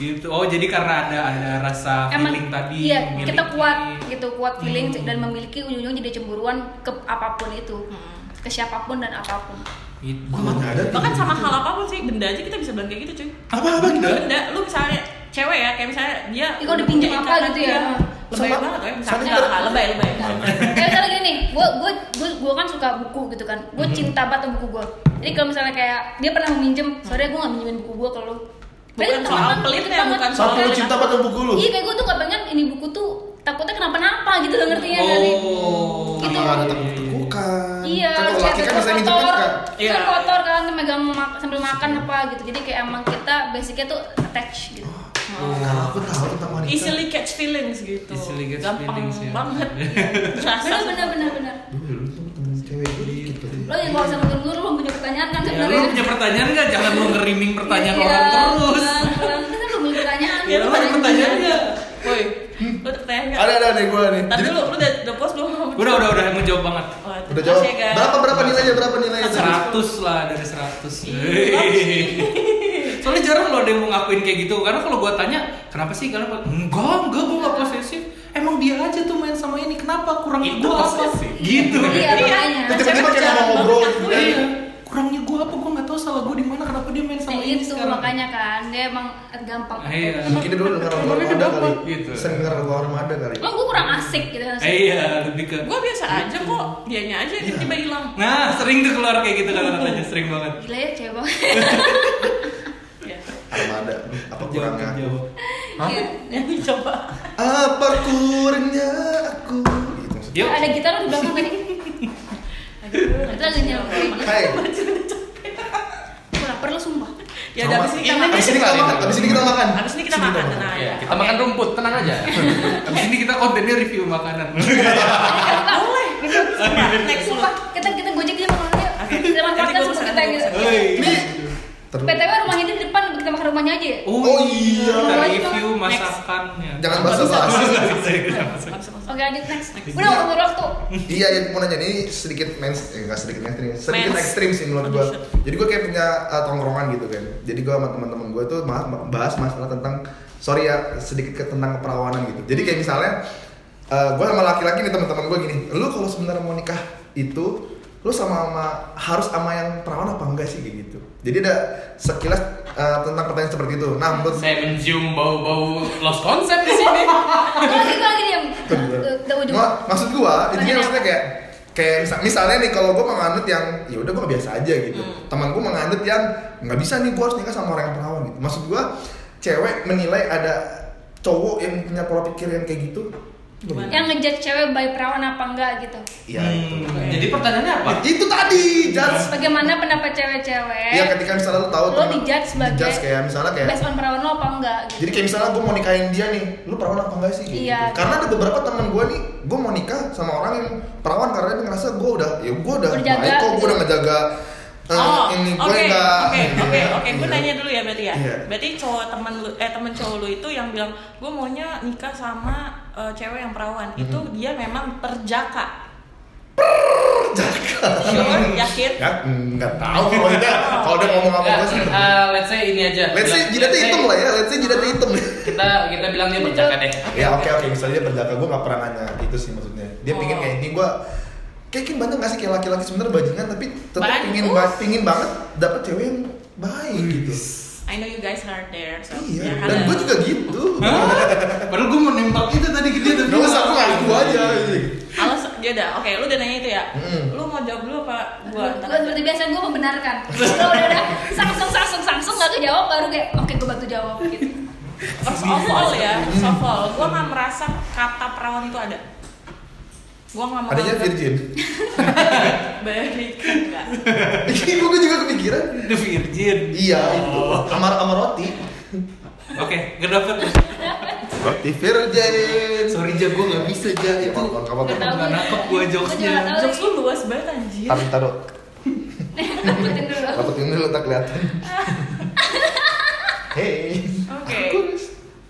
gitu oh jadi karena ada ada rasa feeling tadi iya memiliki. kita kuat gitu kuat feeling dan memiliki ujung-ujung jadi cemburuan ke apapun itu Hmm. ke siapapun dan apapun Gitu. Gua mana ada bahkan sama hal apapun sih benda aja kita bisa bilang kayak gitu cuy apa apa gitu Ya, benda lu misalnya cewek ya kayak misalnya dia Ih, kok dipinjam punya apa ikatan, gitu ya? iya. lebay Sama- banget ya sama misalnya kita- ah, lebay lebay kayak misalnya gini Eh, nih gue gue gue kan suka buku gitu kan Hmm. gue cinta banget sama buku gue jadi kalau misalnya kayak dia pernah minjem sore gue nggak minjemin buku gue ke lu Berarti Bukan soal teman, pelit ya, banget. bukan soal Sampai lu cinta pada buku lu. iya kayak gue tuh gak pengen ini buku tuh takutnya kenapa-napa gitu gak ngerti ya nggak sih Oh. gitu Sama ada takut tekukan. iya Kan kalau laki kan cewek biasanya minjem kotor kan. Iya. kan kotor kan megang ma- sambil makan apa gitu jadi kayak emang kita basicnya tuh attach gitu Kalau Nah, aku tahu tentang wanita. easily catch feelings gitu Easily catch gampang feelings, ya. banget terasa bener bener bener bener Dulu dulu temen- temen cewek gue dikit banget. lo yang kalau sama dulu lo punya pertanyaan kan ya, lu sebenarnya punya pertanyaan nggak jangan lu ngeriming pertanyaan Iya, orang terus Iya, ulang, ulang. Kita belum punya pertanyaan. ya lu Belum ada ada pertanyaan nggak woi lu ada pertanyaan nggak Ada ada nih gue nih. tapi Jadi lu lu udah udah post belum udah udah udah mau jawab banget Oh, terima udah jawab. kasih ya, guys. Berapa berapa nilainya berapa nilainya? tadi? 100 lah dari Iya, 100 Soalnya jarang loh ada yang mau ngakuin kayak gitu Karena kalau gua tanya, kenapa sih? Karena gua, enggak, enggak, gua gak posesif Emang dia aja tuh main sama ini, kenapa? Kurangnya Itu gua apa? posesif. Gitu Iya, makanya. Terus tiba-tiba Cewek kayak jarang mau ngobrol banget gitu ngakuin. kan. Iya. Kurangnya gua apa? Gua gak tahu salah gua di mana kenapa dia main Nah, sama ini itu Iya, sekarang makanya kan dia emang gampang. Iya. Mungkin dia dulu denger lagu Emangnya Armada kenapa? kali. Gitu. Sering denger lagu Armada kali. Emang gue kurang asik gitu kan. Eh, Iya, lebih ke gue biasa aja kok dianya aja yang tiba-tiba Iya. hilang Nah, sering tuh keluar kayak gitu kata-katanya, sering banget Gila ya cewek banget. ya Armada. Apa kurangnya aku? Jawab. Iya. yang Ya, coba Apa kurangnya aku? Gitu maksudnya. Yuk. Ada gitar lu di belakang tadi. Itu lagi nyamperin. Hai. Gue lapar lu sumpah. ya udah abis ini kita makan Abis ini kita makan. Abis ini kita makan. abis ini kita makan tenang Iya, aja kita Oke. makan rumput, tenang aja. Abis ini kita kontennya review makanan boleh Sumpah, next dulu Sumpah, kita kita gojek aja makan dulu. Oke. Kita manfaatkan Nanti gua semua pesan, kita gua gitu. pesan. Hei. Terus. PTW rumahnya dia di depan, kita makan rumahnya aja ya. Oh iya. Kita Next. review ya. masakannya Jangan basa-basi. Abis- abis- Oke lanjut next. Udah udah udah waktu. Iya, yang mau nanya ini sedikit mens, eh, nggak sedikit mainstream, sedikit Mens. ekstrim sih menurut gua. Aduh. Jadi gua kayak punya uh, tongkrongan gitu kan. Jadi gua sama teman-teman gua tuh ma- ma- bahas masalah tentang sorry ya sedikit ke tentang keperawanan gitu. Jadi kayak misalnya uh, gua sama laki-laki nih teman-teman gua gini, lu kalau sebenarnya mau nikah itu lu sama sama harus sama yang perawan apa enggak sih kayak gitu. Jadi ada sekilas uh, tentang pertanyaan seperti itu. Nah, menurut Saya mencium bau-bau lost concept di sini. Gue lagi gue lagi diam. Udah ujung. ya? Nggak, maksud gua Pengen intinya maksudnya apa? kayak kayak misa- misalnya nih kalau gua menganut yang ya udah gua biasa aja gitu Hmm. teman gua menganut yang nggak bisa nih gua harus nikah sama orang yang perawan gitu maksud gua cewek menilai ada cowok yang punya pola pikir yang kayak gitu Gimana? Yang ngejudge cewek by perawan apa enggak gitu. ya itu Hmm, Jadi pertanyaannya apa? itu tadi judge Bagaimana pendapat cewek-cewek? ya ketika misalnya lu tahu Lo teman- dijudge sebagai- dijudge kayak misalnya kayak based on perawan lo apa enggak gitu. Jadi kayak misalnya gue mau nikahin dia nih, lu perawan apa enggak sih? Kayak Iya. Gitu. Karena ada beberapa teman gue nih, gue mau nikah sama orang yang perawan karena dia ngerasa gue udah, ya gue udah Berjaga. baik kok, gue udah ngejaga eh, gitu. Oh, ini gue oke, enggak. oke, oke, Iya, oke. Gue iya. nanya dulu ya berarti ya. Iya. Berarti cowok temen lu, eh temen cowok lu itu yang bilang gue maunya nikah sama eh, cewek yang perawan. Mhm. Itu dia memang perjaka. Perjaka. Sure, yakin? Ya, enggak tahu kalau dia kalau dia ngomong apa Nggak, gue Oh. sih. eh, let's say ini aja. Let's say Bilang- jidatnya let's say hitam lah ya, let's say jidatnya hitam. Kita kita bilang dia berjaga deh. ya oke oke, misalnya dia berjaga, gue nggak pernah nanya itu sih maksudnya. Dia Oh. pingin kayak ini gue Kayaknya banyak nggak sih kayak laki-laki sebenarnya bajingan tapi tetap Bagus. pingin ba- pingin banget dapet cewek yang baik gitu. I know you guys are there. So, Iya, ya, dan ada. gue juga gitu. Padahal gue menembak itu tadi gitu tapi Gak usah, gue ngaku Iya. aja. iya. Alas dia udah. Oke, lu udah nanya itu ya. Mm. Lu mau jawab dulu apa gue? Gue seperti biasa gue membenarkan. Kalau udah udah langsung langsung langsung nggak kejawab baru kayak oke gue bantu jawab gitu. First of all ya, Mhm. first of all, gue nggak merasa kata perawan itu ada. Gue nggak mau. Adanya nganggap- virgin. Baik, enggak. Ih, gue Iya, juga kepikiran. The Virgin. Iya, itu. Oh. Amar sama roti. Oke, gak dapet. Roti virgin. Sorry Ja, gue gak bisa Ja Iya, itu. apa apa Nggak tahu nggak gue. nangkep gue jokesnya. Gue juga nggak Jokes tahu. lu luas banget anjir. Tapi taruh. Takutin dulu. Takut ini lu tak kelihatan. Hey. Oke. Aku harus.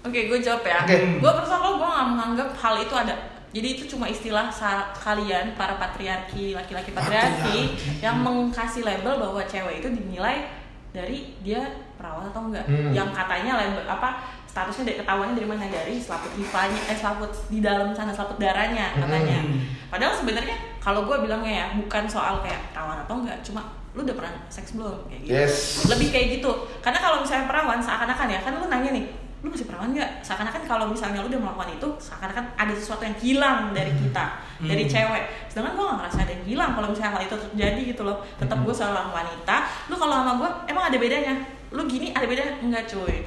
Oke, gue jawab ya. Oke. Gue pertama gue nggak menganggap hal itu ada. Jadi itu cuma istilah sa- kalian para patriarki, laki-laki patriarki yang mengkasih label bahwa cewek itu dinilai dari dia perawat atau enggak Hmm. yang katanya label, apa statusnya dari ketahuannya dari mana dari selaput hivanya eh selaput di dalam sana selaput darahnya katanya Hmm. padahal sebenarnya kalau gue bilangnya ya bukan soal kayak perawan atau enggak cuma lu udah pernah seks belum kayak gitu Yes. lebih kayak gitu karena kalau misalnya perawan seakan-akan ya kan lu nanya nih lu masih perawan nggak seakan-akan kalau misalnya lu udah melakukan itu seakan-akan ada sesuatu yang hilang dari kita dari Hmm. cewek sedangkan gua nggak ngerasa ada yang hilang kalau misalnya hal itu terjadi gitu loh tetap gue seorang wanita lu kalau sama gue emang ada bedanya lu gini ada bedanya enggak cuy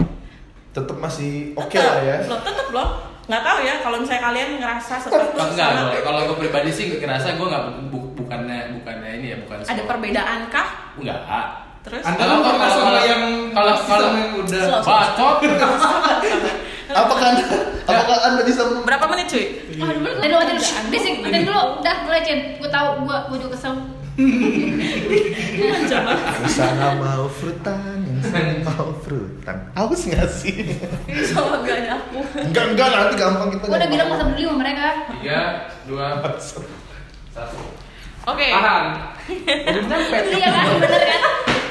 Tetap masih oke Tetep. lah ya. loh tetep loh nggak tahu ya kalau misalnya kalian ngerasa sesuatu Oh, enggak, sama- kalau, kalau gue pribadi sih ngerasa gue nggak bu, bu- bukannya bukannya ini ya bukan ada soal- perbedaan kah enggak terus Anda Kalau- kan pernah kalau- sama kalau- yang kalau- sistem kalau- yang udah Slow. bacot Apakah anda, apakah anda bisa berapa menit cuy Oh, dulu iya. tadi dulu, tadi dulu. Desik, tadi dulu. Dah, mulai, Cin. Gue tau, gue gue juga kesel. Lancar banget. Di sana mau frutan, yang sana mau frutan. Haus nggak sih? sama gak ada aku Enggak enggak nanti gampang kita. Gue udah gampang. bilang masa peduli sama mereka. tiga dua satu oke tahan Iya kan, bener kan?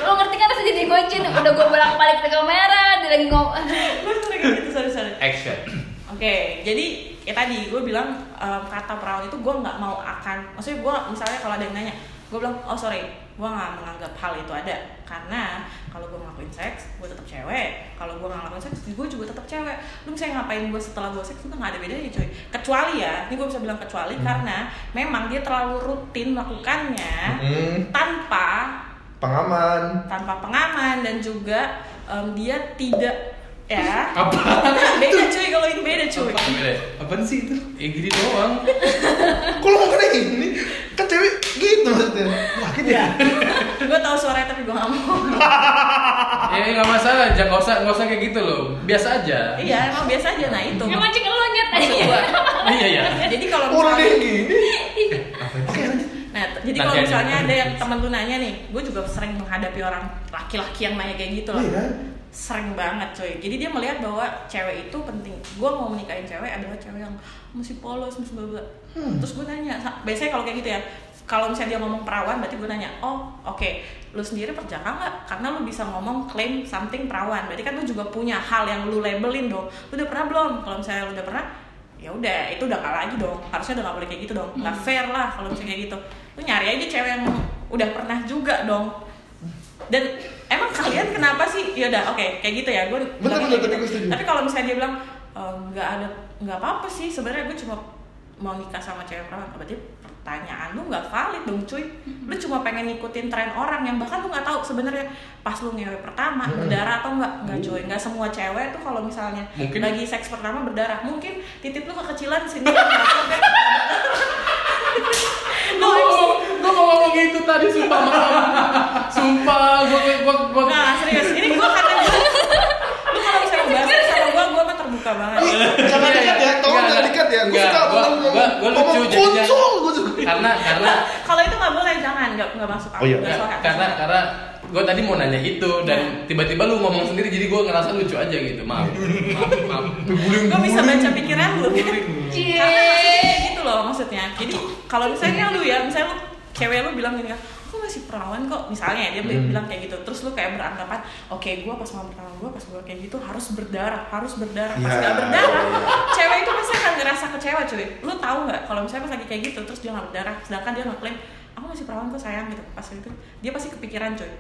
Lo ngerti kan terus jadi gue, Cin. Udah gue bolak-balik ke kamera, dia lagi ngomong. gue sering kayak gitu sorry sorry action Oke, jadi ya tadi gue bilang em, kata perawan itu gue nggak mau akan, maksudnya gue misalnya kalau ada yang nanya, gue bilang oh sorry, gue nggak menganggap hal itu ada karena kalau gue ngelakuin seks, gue tetap cewek. Kalau gue nggak ngelakuin seks, gue juga tetap cewek. Lu misalnya ngapain gue setelah gue seks juga nggak ada bedanya cuy. Kecuali ya, ini gue bisa bilang kecuali karena memang dia terlalu rutin melakukannya Hmm, tanpa pengaman. tanpa pengaman dan juga em, dia tidak ya apa beda cuy kalau ini beda cuy. Gimana? apaan sih itu ya gini doang Kok lo ngomongnya ini? Kan cewek gitu maksudnya. Sakit ya? gue tahu suaranya tapi gue gak mau ya nggak masalah jangan nggak usah nggak usah kayak gitu loh biasa aja iya emang biasa aja nah itu Emang cek lo nyet maksud aja. gue iya iya jadi kalau Orang dia misalnya yang gini. Oke lanjut. nah t- jadi Nanti kalau aja. misalnya ada yang temen lu nanya nih gue juga sering menghadapi orang laki-laki yang nanya kayak gitu loh Iya. sering banget coy jadi dia melihat bahwa cewek itu penting gue mau menikahin cewek adalah cewek yang mesti polos mesti bla bla terus gue nanya sa- biasanya kalau kayak gitu ya kalau misalnya dia ngomong perawan berarti gue nanya oh oke lu sendiri perjaka nggak karena lu bisa ngomong claim something perawan berarti kan lu juga punya hal yang lu labelin dong lu udah pernah belum kalau misalnya lu udah pernah ya udah itu udah nggak lagi dong harusnya udah nggak boleh kayak gitu dong nggak fair lah kalau misalnya kayak gitu lu nyari aja cewek yang udah pernah juga dong dan emang kalian kenapa sih ya udah oke kayak gitu ya gue Betul, bilangnya betul, kayak tapi gue setuju. tapi kalau misalnya dia bilang "E, nggak ada nggak apa apa sih sebenarnya gue cuma mau nikah sama cewek perawan berarti pertanyaan lu nggak valid dong cuy lu cuma pengen ngikutin tren orang yang bahkan lu nggak tahu sebenarnya pas lu ngewe pertama berdarah atau nggak nggak cuy nggak semua cewek tuh kalau misalnya Mungkin- lagi seks pertama berdarah mungkin titik lu kekecilan sini lu gue mau ngomong gitu tadi sumpah maaf sumpah gue gue gue Enggak, serius. Ini gue kata Lu kalau misalnya bahas sama gue, gue mah terbuka banget. Ih, Jangan dikat ya, tolong iya. Enggak, jangan dikat ya. Gue enggak, suka gua- ngomong gua- gua lucu ngomong jadinya. konsol. Gue suka. karena karena Kalau itu nggak boleh, jangan. Nggak nggak masuk akal. Oh, iya. nggak masuk akal. karena karena gue tadi mau nanya itu Iya. dan tiba-tiba lu ngomong sendiri jadi gue ngerasa lucu aja gitu maaf maaf maaf gue bisa baca pikiran lu. kan? Cie. Karena maksudnya kayak gitu loh maksudnya. Jadi kalau misalnya lu ya, misalnya lu cewek lu bilang gini kan, aku masih perawan kok misalnya dia bi- bilang kayak gitu terus lu kayak beranggapan oke gue pas mau pertama gue pas gue kayak gitu harus berdarah harus berdarah pas Ya. nggak berdarah cewek itu pasti akan ngerasa kecewa cuy lu tahu nggak kalau misalnya pas lagi kayak gitu terus dia nggak berdarah sedangkan dia ngeklaim aku masih perawan kok sayang gitu pas itu dia pasti kepikiran cuy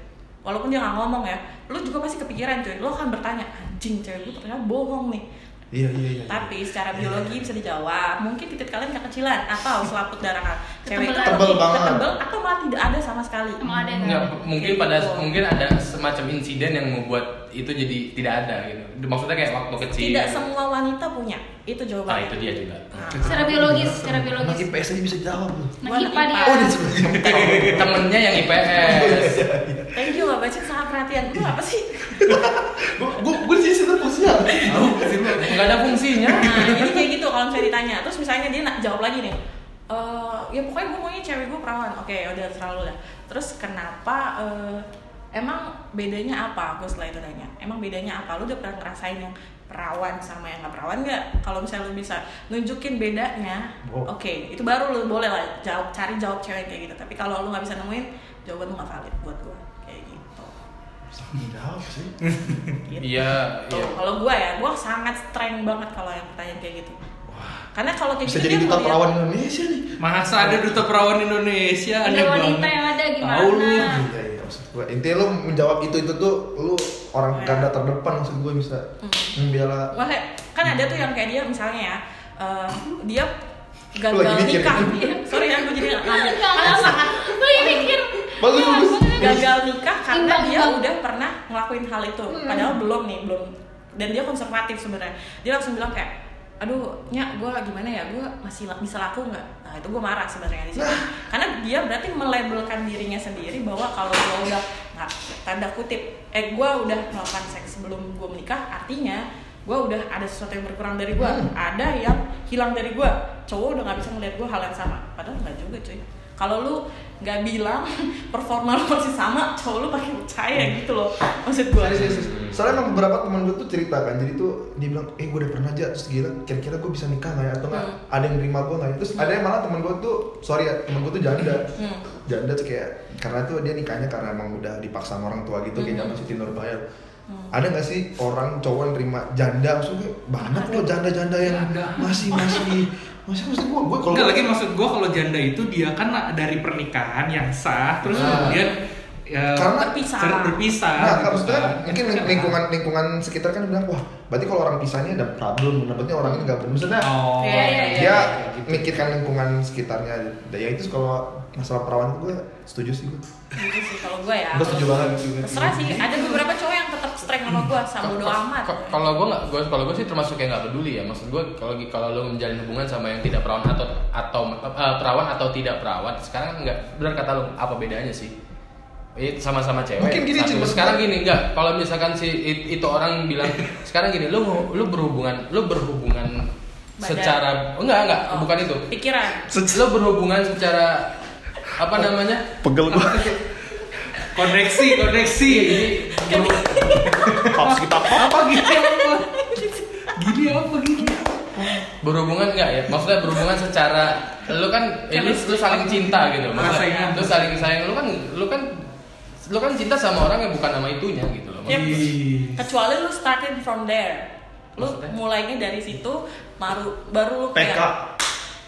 walaupun dia nggak ngomong ya lu juga pasti kepikiran cuy lu akan bertanya anjing cewek gue ternyata bohong nih Iya iya iya. tapi secara biologi bisa dijawab mungkin titik kalian kekecilan atau selaput darah kan cewek itu Ketebelan. Tebel banget. ketebel atau malah tidak ada sama sekali Emang ada Nggak, nggak? mungkin Kayak pada gitu. mungkin ada semacam insiden yang membuat itu jadi tidak ada gitu maksudnya kayak waktu kecil tidak semua wanita punya itu nah jawabannya itu dia juga Nah, Secara biologis, secara Anak biologis. IPS Nah, aja bisa jawab. lu. Nah, Gua anak IPA dia. IPA. Oh dia sebenarnya. temennya yang Iya, IPS thank you Mbak Bacin sangat perhatian lu apa sih Gue gue di sini posisi apa? nggak ada fungsinya nah jadi kayak gitu kalau misalnya ditanya terus misalnya dia nak jawab lagi nih Eh, ya pokoknya gue maunya cewek gue perawan oke udah terlalu lah terus kenapa eh, emang bedanya apa gue setelah itu nanya emang bedanya apa lu udah pernah ngerasain yang perawan sama yang nggak perawan nggak kalau misalnya lu bisa nunjukin bedanya Oh. oke itu baru lu boleh lah jawab cari jawab cewek kayak gitu tapi kalau lu nggak bisa nemuin jawaban lu nggak valid buat gue kayak gitu Jauh sih. Gitu. Iya, Tuh, iya. Kalau gua ya, gua sangat strength banget kalau yang pertanyaan kayak gitu. Karena kalau kayak Bisa gitu jadi dia duta ngeliat- perawan Indonesia nih. Masa ada duta perawan Indonesia? Ada Aneh wanita banget. yang ada gimana? Tahu lu. Iya iya maksud gue. Intinya lu menjawab itu itu tuh lu orang garda terdepan maksud gue bisa membela. Wah, kayak- kan ada tuh yang kayak dia misalnya ya, eh, dia Lagi gagal mikir. nikah. Iya, Sorry ya, gue jadi nggak ngambil. Enggak, enggak, enggak. Gue lagi mikir. Enggak, Bagus, bagus. gue lagi mikir. Gagal nikah karena Imbang, dia imbang. udah pernah ngelakuin hal itu, Hmm. padahal belum nih, belum. Dan dia konservatif sebenarnya. Dia langsung bilang kayak, aduh, nyak gue gimana ya, gue masih la- bisa laku nggak? Nah itu gue marah sebenarnya di situ. Karena dia berarti melabelkan dirinya sendiri bahwa kalau gue udah nah, tanda kutip, eh gue udah melakukan seks sebelum gue menikah, artinya gue udah ada sesuatu yang berkurang dari gue, ada yang hilang dari gue. Cowok udah nggak bisa ngeliat gue hal yang sama, padahal nggak juga cuy. Kalau lu nggak bilang performa lu masih sama, cowok lu pakai percaya gitu loh. Maksud gue. Serius, serius. Hmm. Soalnya emang beberapa teman gue tuh cerita kan, jadi tuh dia bilang, eh gue udah pernah aja, terus gila, kira-kira gue bisa nikah nggak ya, atau nggak Hmm. ada yang nerima gue nggak ya, terus ada yang malah teman gue tuh, sorry ya, teman gue tuh janda, Hmm. janda tuh kayak, karena tuh dia nikahnya karena emang udah dipaksa sama orang tua gitu, Hmm. kayak zaman Siti Nurbaya, ada nggak sih orang cowok yang terima janda, maksudnya banyak loh janda-janda yang Ada. masih masih masih maksud gue, gue kalau Enggak lagi maksud gue kalau janda itu dia kan dari pernikahan yang sah terus Nah. kemudian ya, Ah. Karena- Berpisah. cer- berpisah. Nah, gitu maksudnya kan. mungkin Itu kan lingkungan lingkungan sekitar kan bilang wah berarti kalau orang pisahnya ada problem, berarti orang ini nggak benar. Maksudnya Oh. Iya, iya, iya. dia mikirkan lingkungan sekitarnya. Ya itu kalau masalah perawan itu gue setuju sih gue. Gitu sih kalau gue ya. Gue setuju banget. Terserah sih, ada beberapa cowok yang tetap strength sama gue, sama bodo amat. Ko- Kalau gue nggak, gua- kalau gue sih termasuk yang nggak peduli ya. Maksud gue kalau kalau lo menjalin hubungan sama yang tidak perawan atau atau eh, perawan atau tidak perawan, sekarang nggak benar kata lo apa bedanya sih? Ini sama-sama cewek. Mungkin gini, Satu. Cil, maksud sekarang gua- gini enggak. Kalau misalkan si it- itu orang bilang sekarang gini, lu lu berhubungan, lu berhubungan Badan. secara enggak enggak Oh. bukan itu. Pikiran. Lo berhubungan secara apa namanya? Pegel gue. koneksi Iya, koneksi Jadi berhu- Paps kita apa gini apa gini apa gini berhubungan nggak ya maksudnya berhubungan secara lu kan eh, lu, lu saling cinta gitu maksudnya Rasanya. lu saling sayang lu kan lu kan lu kan cinta sama orang yang bukan sama itunya gitu loh Iya. Yep. Ih. Kecuali lu starting from there. Lu Maksudnya? mulainya dari situ, baru baru lu PK.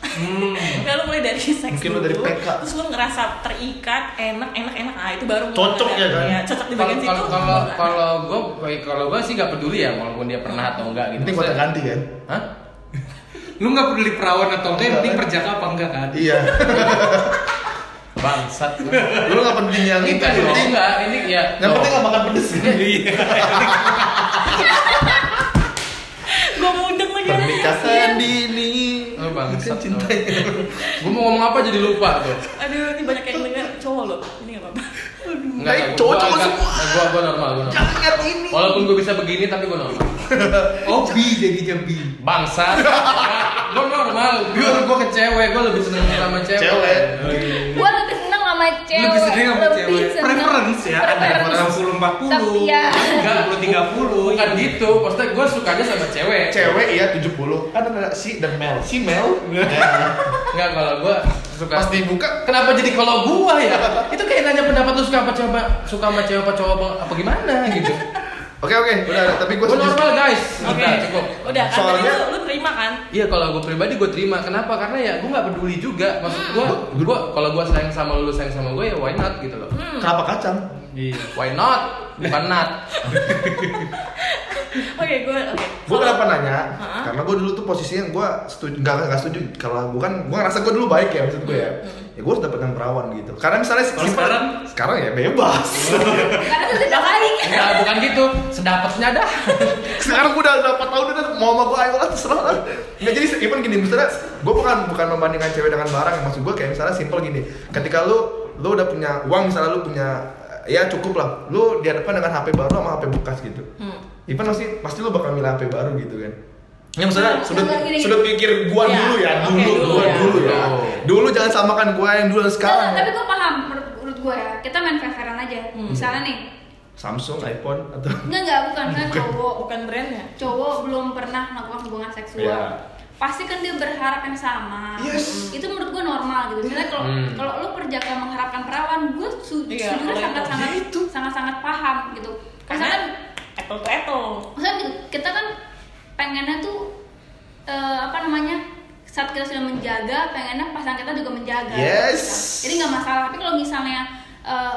Hmm. Ya lu mulai dari seks Mungkin lu dulu, dari PK. terus lu ngerasa terikat, enak, enak, enak, ah itu baru Cocok ya kan? Iya, cocok di kalau bagian situ. kalau kalau kalau gue kalau gue sih nggak peduli ya walaupun dia pernah atau enggak gitu Penting gue ganti kan. Hah? lu nggak peduli perawan atau enggak yang penting perjaka apa enggak kan Iya. bangsat Lu nggak penting yang ini itu. kan Penting. enggak ini ya Yang penting nggak makan pedes. iya gue mudeng lagi Pernikahan dini. Lu Oh, Bukan bangsat, cinta lu. ya. gue mau ngomong apa jadi lupa tuh aduh ini banyak yang dengar cowok loh ini gak apa-apa Baik, cowok-cowok gue gue normal gue normal Jangan ngarep ini. walaupun gue bisa begini tapi gue normal obi Oh, jadinya bi Bangsat. gue normal. Gue gue ke cewek, gue lebih seneng sama cewek. Cewek. Gue lebih seneng sama cewek. lebih sering sama cewek seneng. preference ya ada yang Preference. 60 Tapi 40 ya. enggak 30 Bukan gitu, maksudnya gue sukanya sama cewek. Cewek iya 70 kan ada si dan Mel. Si Mel. Ya. Enggak kalau gue suka. Pas dibuka Kenapa jadi kalau gua ya? Itu kayak nanya pendapat lu suka apa coba suka sama cewek apa cowok apa, apa gimana gitu. Oke oke, udah tapi gue Gue normal guys. oke Udah, cukup. udah kan tadi Soalnya- lu, lu terima kan Iya kalau gue pribadi gue terima. Kenapa? Karena ya gue nggak peduli juga. Maksud gue, gue kalau gue sayang sama lu, lu sayang sama gue ya why not gitu loh. Kenapa kacang? iya Why not? Bukan not. oke gue oke Gue Kalau- kenapa nanya? Hah? Karena gue dulu tuh posisinya gue setuju, nggak nggak setuju. Kalau bukan, gue ngerasa gue dulu baik ya maksud gue ya. Ya gue harus dapet yang perawan gitu. Karena misalnya Kalau simpel- sekarang? sekarang ya bebas. Karena itu tidak baik. Enggak, bukan gitu. Sedapatnya dah. sekarang gue udah dapat tahun udah mau sama gue ayo lah terserah lah. Nggak jadi even gini misalnya gue bukan bukan membandingkan cewek dengan barang. ya. Maksud gue kayak misalnya simpel gini. Ketika lu lu udah punya uang misalnya lu punya ya cukup lah. Lu dihadapkan dengan HP baru sama HP bekas gitu. hmm. Ipan pasti pasti lu bakal milih HP baru gitu kan. Ya Nah, maksudnya sudut gini, gini. sudut pikir gua Iya. dulu ya, Oke, dulu, dulu gua ya. dulu ya. Dulu. Dulu jangan samakan gua yang dulu dan sekarang. Tapi gue paham menurut, menurut gue ya. Kita main fair-fairan aja. Misalnya nih. Samsung, iPhone atau Enggak enggak bukan kan cowok. bukan brandnya Cowok belum pernah melakukan hubungan seksual. Iya. Pasti kan dia berharap yang sama. Yes. Itu menurut gue normal gitu. Misalnya kalau Hmm. kalau lu perjaka mengharapkan perawan, gue su Iya, sejujurnya kalau sangat sangat sangat sangat paham gitu. kan eh, menjaga pengennya pasangan kita juga menjaga Yes. jadi nggak masalah tapi kalau misalnya eh,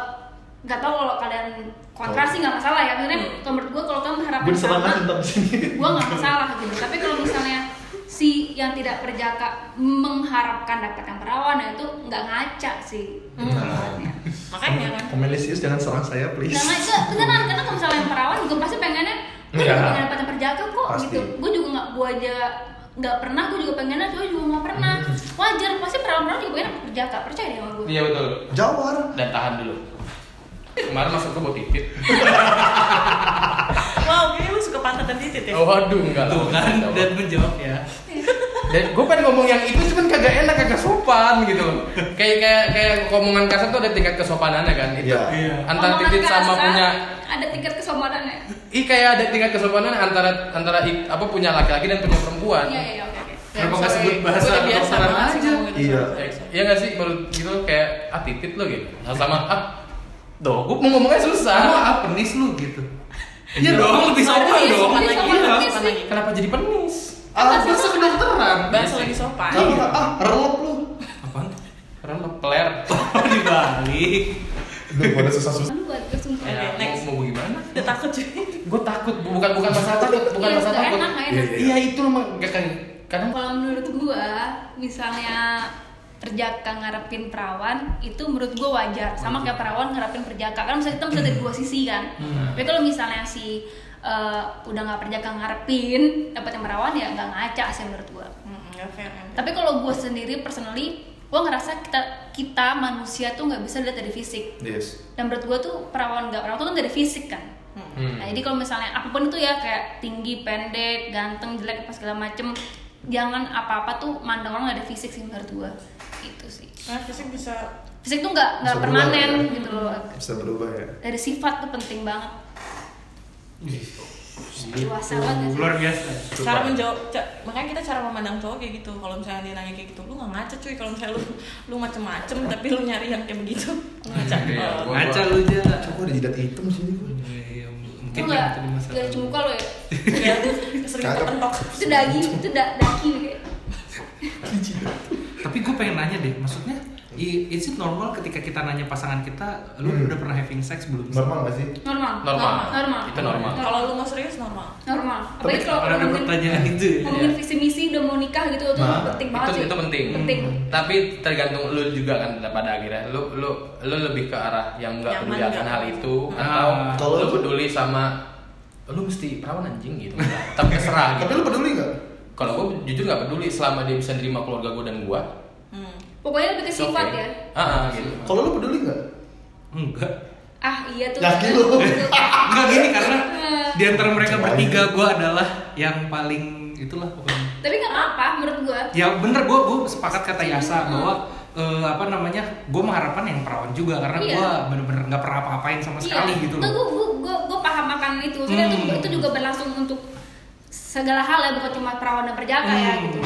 nggak tahu kalau kalian kontra sih nggak masalah ya maksudnya kalau menurut gue kalau kamu berharap Gue diserang sama, banget tentang sini. gue nggak masalah gitu tapi kalau misalnya si yang tidak perjaka mengharapkan dapat yang perawan nah itu nggak ngaca sih Maksudnya. makanya kan Komenisius jangan serang saya please. karena itu Nah, beneran karena kalau misalnya yang perawan juga pasti pengennya gue juga Iya. pengen dapat yang perjaka kok Pasti. gitu gue juga nggak gue aja nggak pernah gue juga pengennya gue juga nggak pernah wajar pasti perawan-perawan juga pengen dapat perjaka percaya deh sama gue Iya betul. Jawar. Dan tahan dulu. Kemarin masuk ke bau titit. wow kayaknya lu suka pantat dan titit ya Oh, waduh enggak lah. Tuh kan dan menjawab ya. Dan gue pengen ngomong yang itu cuman kagak enak kagak sopan gitu loh. Kayak kayak kayak omongan kasar tuh ada tingkat kesopanannya kan itu. Iya. Iya. Antara Omongan titit sama kasar, punya ada tingkat kesombongan ya Ih kayak ada tingkat kesopanan antara antara i- apa punya laki-laki dan punya perempuan. iya iya iya oke oke Kayak Kenapa nggak misalnya, sebut bahasa Ya, "Gua udah biasa kedokteran banget sih aja?" ngomong gitu. Iya. Eh, Iya nggak sih menurut gitu kayak ah titit lo gitu. Sama, sama ah Duh, gue mau ngomongnya Sama susah. ah penis lu gitu. Iya dong, lebih sopan Iya, dong. sopan Iya, lagi sopan iya, sopan lagi sih. lagi Kenapa jadi penis? Ah, Bahasa kedokteran. bahas lagi sopan kamu nggak- ah, relep lu. Apaan? Karena lo peler. Oh, dibalik. Duh, gua udah susah-susah. Kamu buat kesumpah Oke, Ya, mau- next. Mau, gimana? udah takut cuy Gue takut, bu- bukan bukan masalah takut, bukan Iya, masalah nggak takut. enak nggak Iya, enak iya. Iya itu emang gak kayak kadang Kalau menurut gua, misalnya perjaka ngarepin perawan itu menurut gua wajar sama kayak perawan ngarepin perjaka kan misalnya kita bisa dari dua sisi kan tapi kalau misalnya si eh, udah nggak perjaka ngarepin dapat yang perawan ya nggak ngaca sih menurut gua Hmm, nggak fair kan? tapi kalau gua sendiri personally gua ngerasa kita kita manusia tuh nggak bisa dilihat dari fisik Yes. dan menurut gua tuh perawan nggak perawan tuh kan dari fisik kan Hmm. Nah, jadi kalau misalnya apapun itu ya kayak tinggi, pendek, ganteng, jelek, apa segala macem jangan apa-apa tuh mandang orang nggak ada fisik sih menurut gua itu sih Karena fisik bisa fisik tuh nggak nggak Bisa permanen berubah, gitu loh Bisa berubah ya. dari sifat tuh penting banget dewasa banget ya sih. Luar biasa. cara menjawab ca- makanya kita cara memandang cowok kayak gitu kalau misalnya dia nanya kayak gitu lu nggak ngaca cuy kalau misalnya lu lu macem-macem tapi lu nyari yang kayak begitu Lu ngaca Iya, Oh. gua- Ngaca lu aja. Aku ada jidat hitam sini gua. Iya, itu Mungkin yang nggak itu di masa nggak cuci muka lo ya Iya, sering Cakep. kepentok itu daging itu da daki kayak Tapi gue pengen nanya deh, maksudnya i- is it normal ketika kita nanya pasangan kita, lu Hmm. udah pernah having sex belum? Normal gak sih? normal normal. normal Itu normal. kalau lu mau serius normal normal apalagi Tapi kalau ada ngomongin- pertanyaan itu ya. ngomongin visi misi udah mau nikah gitu tuh Nah, penting banget itu sih itu penting. Hmm. penting Tapi tergantung lu juga kan pada akhirnya lu lu lu lebih ke arah yang nggak Nyaman peduli akan nggak? hal itu Hmm. Ah. atau Kalau lu lu- peduli sama lu mesti perawan anjing gitu. Tapi Ah, terserah Tapi lu gitu. peduli gak? Kalau gue jujur nggak peduli selama dia bisa nerima keluarga gue dan gue. hmm. pokoknya lebih ke sifat ya Ah, ah, gitu. Kalau lu peduli gak? Enggak. ah iya tuh Laki lu. Enggak gini karena di antara mereka bertiga gue adalah yang paling itulah pokoknya. tapi nggak apa-apa menurut gua ya bener gue gue sepakat kata Yasa bahwa eh, apa namanya gue mengharapkan yang perawan juga karena Iya. gue bener-bener nggak pernah apa-apain sama sekali gitu Tuh, loh Iya. gua, gua, gua, gua paham akan itu maksudnya itu, Hmm. itu juga berlangsung untuk segala hal ya bukan cuma perawan dan perjaka ya Hmm. gitu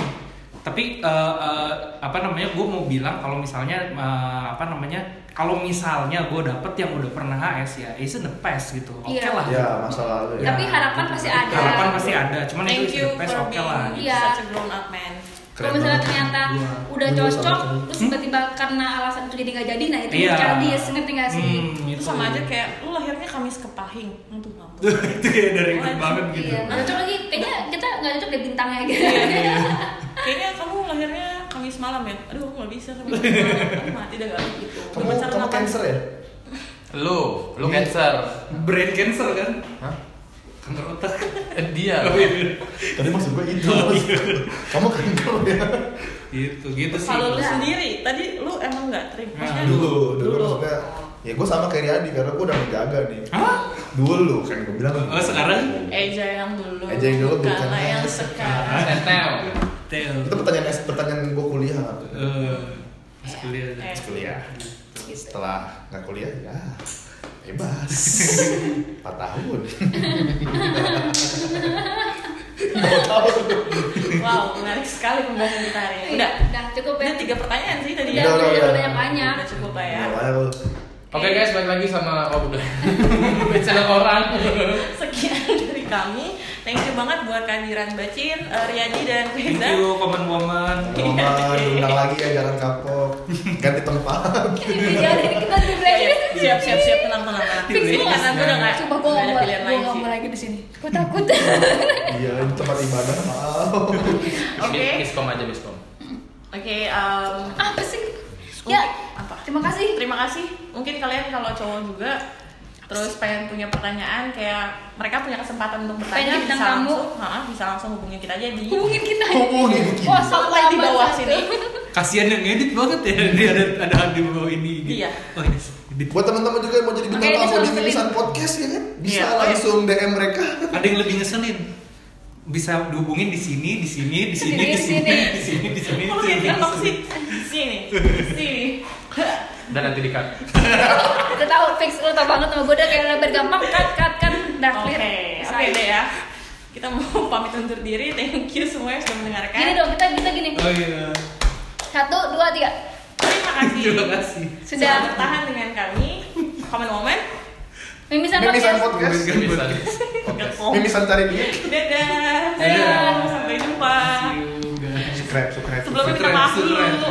tapi eh, eh, apa namanya gue mau bilang kalau misalnya eh, apa namanya kalau misalnya gue dapet yang udah pernah HS ya it's in the past gitu oke Iya. lah Ya, masa lalu ya. Tapi harapan pasti ada. harapan pasti ada cuman thank itu you it's in the past for oke being lah gitu. Iya. such a grown up man kalau misalnya ternyata Iya. udah Gua sama cocok kamu. terus tiba-tiba karena alasan itu jadi nggak jadi nah itu Iya. cara dia ngerti nggak sih Hmm, itu sama aja kayak lu lahirnya Kamis kepahing itu mampus itu kayak ya, dari Wajib. grup banget gitu iya nggak cocok lagi kayaknya kita nggak cocok deh bintangnya gitu Iya, kayaknya kamu lahirnya Kamis malam ya aduh aku nggak bisa Kamis malam Aku mati dah kali gitu Kamu, Udah pacaran kamu apa? cancer ya? Lu, lu cancer. brain cancer kan Hah? kanker otak Eh, Dia. Tadi maksud gua itu. kamu kanker ya? gitu gitu sih kalau lu Enggak. sendiri tadi lu emang nggak terima Nah, maksudnya Dulu, dulu maksudnya Ya gua sama kayak Riyadi karena gua udah menjaga nih Hah? Dulu kan gua bilang Eh. Oh, sekarang? Eja yang dulu Eja yang dulu, bukanlah bukanlah yang yang sekarang Tetel. Tel. Itu pertanyaan pertanyaan gua kuliah Eh, pas kuliah. Eh. Pas kuliah Gitu. Setelah nggak kuliah ya bebas 4 tahun wow menarik sekali pembahasan kita hari ini Eh, udah udah cukup udah ya tiga pertanyaan sih tadi udah ya Udah, udah, udah udah. banyak banyak udah cukup lah ya Makanya lu Oke guys, balik lagi sama oh udah. Bicara orang. sekian dari kami thank you banget buat kehadiran Bacin, eh, Riyadi dan Thank Firza. you, common woman. Roman, diundang lagi ajaran kapok ganti tempat Jangan jadi kita di Iya, Siap siap siap tenang tenang. tenang. Tim Fix Riyadi. gua karena gua udah nggak Coba gue nggak ada ngomong, pilihan gue lain sih. ngomong lagi di sini. Gue takut. iya ini tempat ibadah maaf Oke. Miskom aja miskom. Oke, em, Apa sih? mungkin- Ya, apa? terima kasih. Terima kasih. Mungkin kalian kalau cowok juga terus pengen punya pertanyaan kayak mereka punya kesempatan untuk bertanya Pengen bisa bintang tamu. langsung, ha, bisa langsung hubungin kita aja di Hubungin kita. Oh, Hubungin kita. WhatsApp Hotline di lama bawah satu. sini. Kasihan yang edit banget ya. Dia ada ada di bawah ini. gitu. Iya. Oh, ini edit. buat teman-teman juga yang mau jadi bintang Makanya tamu di diselin-selin. tulisan podcast ya kan bisa Iya, oh iya. langsung DM mereka Ada yang lebih ngeselin. Bisa dihubungin di sini, di sini, di sini, di sini, di sini, di sini. Kalau di di TikTok sini. sih sini, sini. Dan nanti di cut. Udah tahu fix lu tau banget sama gue udah kayak lebar gampang cut cut cut dah Oke, clear. oke deh ya. Kita mau pamit undur diri. Thank you semua yang sudah mendengarkan. Gini dong kita kita gini. Oh iya. Satu dua tiga. Terima kasih. Terima kasih. Sudah Sudah. bertahan dengan kami. Comment moment. Mimisan mimisan podcast. podcast Bisa. mimisan cari dia Dadah. Dadah. Sampai jumpa. See you guys. subscribe subscribe Sebelumnya minta maaf Subscribe, dulu. subscribe.